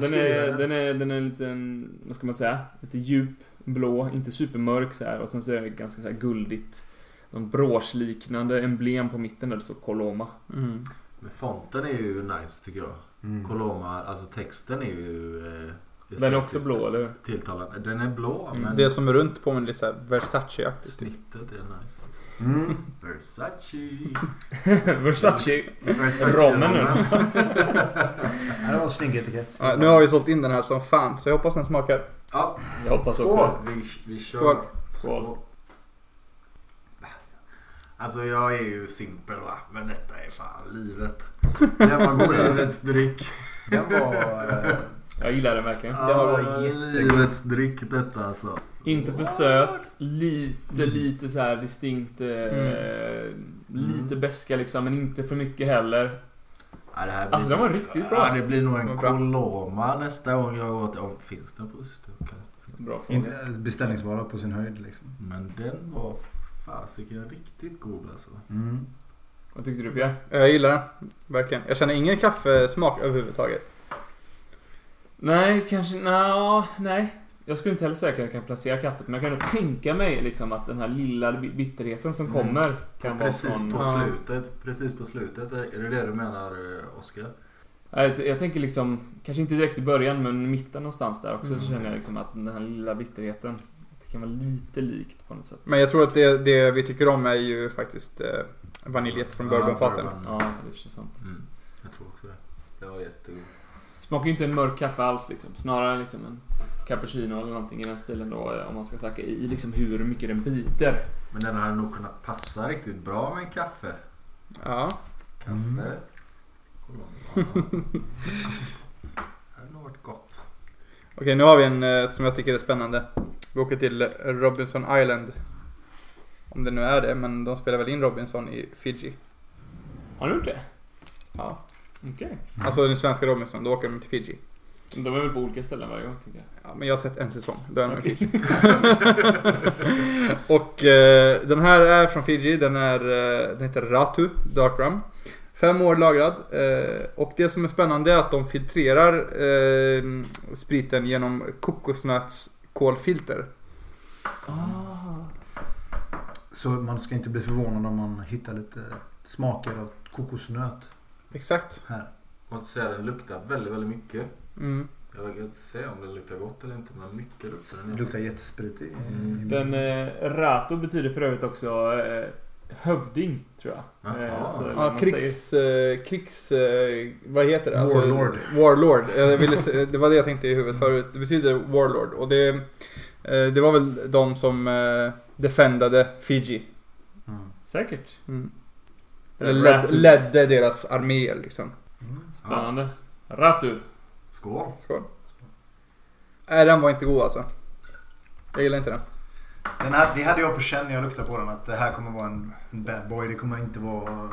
C: den,
D: skriver
C: är,
D: den.
C: den, är, den är lite, mm, vad ska man säga, lite djup, blå, inte supermörk så här. Och sen så är det ganska så här guldigt. Någon broschliknande emblem på mitten där det står Coloma.
B: Mm.
F: Men fonten är ju nice tycker jag.
D: Mm.
F: Coloma, alltså texten är ju... Eh,
C: Den är också
F: estetiskt
C: blå, eller hur?
F: Tilltalande. Den är blå men
B: Det som är runt påminner lite såhär Versace-aktigt.
F: snittet är nice.
D: Mm.
F: Versace.
C: Versace.
F: Versace
C: Rommen nu.
D: Det här var en snygg etikett.
B: Ja, nu har vi sålt in den här som fan, så jag hoppas den smakar.
F: Ja,
C: Jag hoppas också.
D: Skål.
F: vi, vi kör.
B: Skål.
C: Skål.
F: Alltså jag är ju simpel va. Men detta är fan livet.
D: Den var god.
F: Livets dryck.
D: Den var... eh,
C: Jag gillar den verkligen.
D: Den var jättegod.
F: Livets dryck detta alltså.
C: Inte för söt, lite, lite så här distinkt. Eh, Lite
F: Mm.
C: beska liksom, men inte för mycket heller.
F: Ja, det här blir...
C: Alltså den var riktigt
F: Ja,
C: bra.
F: det blir nog en
B: Vad bra.
F: Coloma nästa gång jag går till... Om, finns den på systemet?
C: Bra fråga.
D: inte- Beställningsvara på sin höjd liksom.
F: Men den var fasiken riktigt god alltså.
D: Mm.
C: Vad tyckte du Pierre?
B: Jag gillar den. Verkligen. Jag känner ingen kaffesmak överhuvudtaget.
C: Nej, kanske... Nja, nej. Jag skulle inte heller säga att jag kan placera kaffet, men jag kan ändå tänka mig liksom att den här lilla bi- bitterheten som
F: Mm.
C: kommer kan vara
F: Precis
C: från...
F: på
B: Ja.
F: slutet. Precis på slutet. Är det det du menar eh, Oskar?
C: Ja, Jag, jag tänker liksom, kanske inte direkt i början men i mitten någonstans där också så
F: Mm.
C: känner jag liksom att den här lilla bitterheten det kan vara lite likt på något sätt.
B: Men jag tror att det, det vi tycker om är ju faktiskt eh, vaniljet från
F: Ja,
B: bourbonfaten.
F: bourbon.
C: Ja, det känns sant.
F: Mm, jag tror också det. Det var jättegod.
C: Smakar ju inte en mörk kaffe alls liksom. Snarare liksom en cappuccino eller någonting i den stilen då eh, om man ska snacka i liksom hur mycket den biter.
F: Men den hade nog kunnat passa riktigt bra med en kaffe.
B: Ja.
F: Kaffe.
D: Mm.
F: Coloma. det hade nog varit gott.
B: Okej, nu har vi en eh, som jag tycker är spännande. Vi åker till Robinson Island. Om det nu är det, men de spelar väl in Robinson i Fiji.
C: Har ni gjort det?
B: Ja.
C: Okej.
F: Mm.
B: Alltså den svenska Robinson, då åker de till Fiji.
C: De är väl på olika ställen varje gång tycker jag.
B: Ja, men jag har sett en säsong, då är den Fiji. och eh, den här är från Fiji, den, är, eh, den heter Ratu Dark Rum. Fem år lagrad. Eh, och det som är spännande är att de filtrerar eh, spriten genom kokosnötskolfilter.
C: Ah.
D: Så man ska inte bli förvånad om man hittar lite smaker av kokosnöt
B: Exakt.
D: här.
F: Måste säga den luktar väldigt, väldigt mycket.
B: Mm.
F: Jag vågar inte säga om den luktar gott eller inte, men mycket luktar den.
D: Det luktar jättesprit i, i
F: Mm.
C: Den eh, Rato betyder för övrigt också eh, hövding, tror jag.
F: Jaha.
C: Eh, alltså,
F: Ja,
B: Ja,
C: man säger-
B: krigs... Eh, krigs eh, vad heter det?
D: Warlord.
B: warlord. Jag ville, se- det var det jag tänkte i
C: Mm.
B: huvudet förut. Det betyder Warlord. Och det, eh, det var väl de som eh, defendade Fiji.
D: Mm.
C: Säkert.
B: Mm.
C: Den
B: Eller
C: Ratus.
B: led, ledde deras arméer liksom.
D: Mm.
C: Spännande. Ratu.
F: Skål!
B: Skål. Nej, den var inte god alltså. Jag gillar inte den.
D: Den här, det hade jag på känn när jag luktade på den att det här kommer vara en en bad boy. Det kommer inte vara...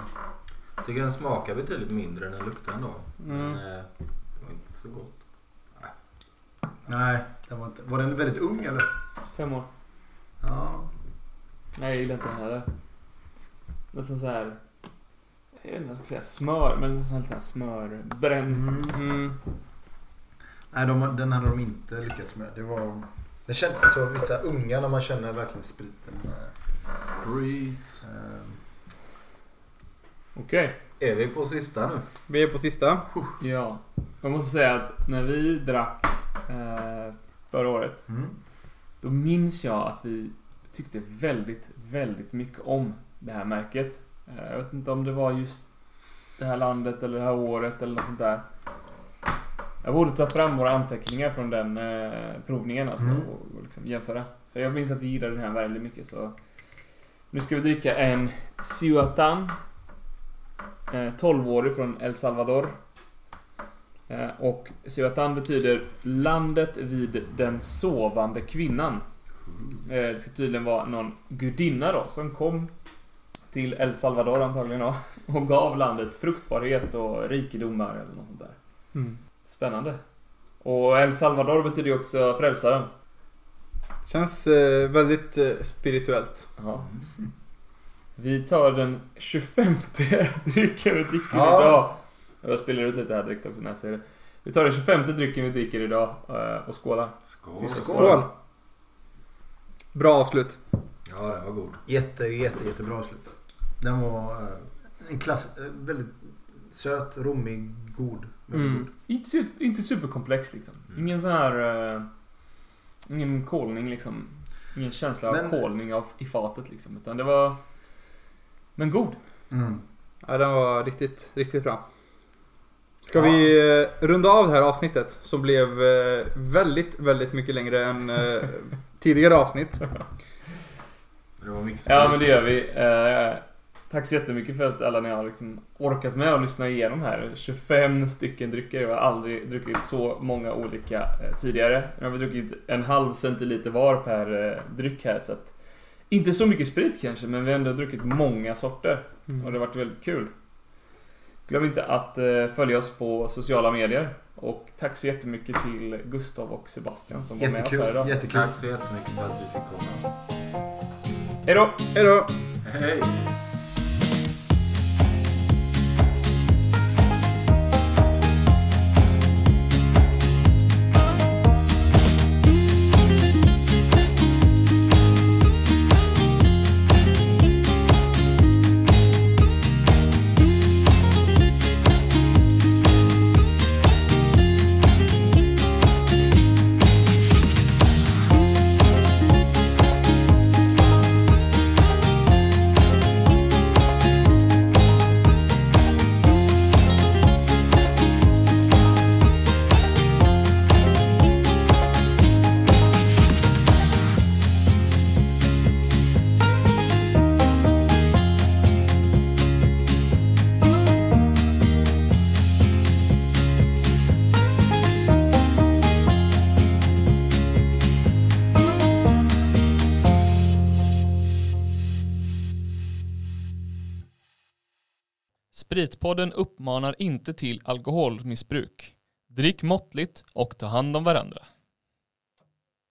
F: Tycker den smakar betydligt mindre än den luktar ändå. Men
B: Mm.
F: eh, det var inte så gott.
D: Nej, den var, inte, var den väldigt ung eller?
C: Fem år.
D: Ja.
C: Nej, jag gillar inte den heller. Nästan så här. Jag vet inte vad jag ska säga. Smör. Men nästan lite här smörbränd.
D: Mhm.
B: Mm.
D: Nej, de, den hade de inte lyckats med. Det var... Det kändes alltså, vissa unga när man känner verkligen spriten.
F: Sprit.
D: Eh,
C: Okej.
F: Är vi på sista nu?
B: Vi är på sista.
C: Ja. Jag måste säga att när vi drack eh, förra året.
D: Mm.
C: Då minns jag att vi tyckte väldigt, väldigt mycket om det här märket. Eh, Jag vet inte om det var just det här landet eller det här året eller något sånt där. Jag borde ta fram våra anteckningar från den eh, provningen alltså,
D: Mm.
C: och, och liksom jämföra. För jag minns att vi gillade den här väldigt mycket så... Nu ska vi dricka en Ciuatan. Eh, 12-årig från El Salvador. Eh, och Ciuatan betyder landet vid den sovande kvinnan. Eh, det ska tydligen vara någon gudinna då som kom till El Salvador antagligen då och gav landet fruktbarhet och rikedomar eller något sånt där. Spännande. Och El Salvador betyder ju också frälsaren.
B: Känns eh, väldigt eh, spirituellt.
C: Ja. Vi tar den 25 drycken vi dricker
D: Ja.
C: idag. Jag spelar ut lite här direkt också när jag säger det. Vi tar den 25 drycken vi dricker idag eh, och skålar.
F: Skål!
C: Sista
B: Skål!
C: skål.
B: Bra avslut.
F: Ja, den var god.
D: Jätte, jätte, jättebra avslut. Den var eh, en klass... eh, Väldigt söt, rommig, god. Väldigt
B: Mm.
D: god.
C: Inte, su- inte superkomplex liksom.
F: Mm.
C: Ingen sån här... eh, ingen kolning liksom. Ingen känsla av
D: Men-
C: kolning av, i fatet liksom. Utan det var... Men god.
D: Mm.
B: Ja, den var riktigt, riktigt bra. Ska
D: Ja.
B: vi eh, runda av det här avsnittet som blev eh, väldigt, väldigt mycket längre än eh, tidigare avsnitt.
F: Men det var mycket
C: Ja
F: sprit
C: men det gör
F: också.
C: vi. Eh, tack så jättemycket för att alla ni har liksom orkat med att lyssna igenom här. 25 stycken drycker. Jag har aldrig druckit så många olika eh, tidigare. Nu har vi druckit en halv centiliter var per eh, dryck här så att inte så mycket sprit kanske, men vi har ändå druckit många sorter och det har varit väldigt kul. Glöm inte att eh, följa oss på sociala medier och tack så jättemycket till Gustav och Sebastian som var med oss här
D: Jättekul.
C: idag.
D: Jättekul.
F: Tack så jättemycket för att vi fick komma.
C: Hejdå!
B: Hej då!
F: Hej!
C: Spritpodden uppmanar inte till alkoholmissbruk. Drick måttligt och ta hand om varandra.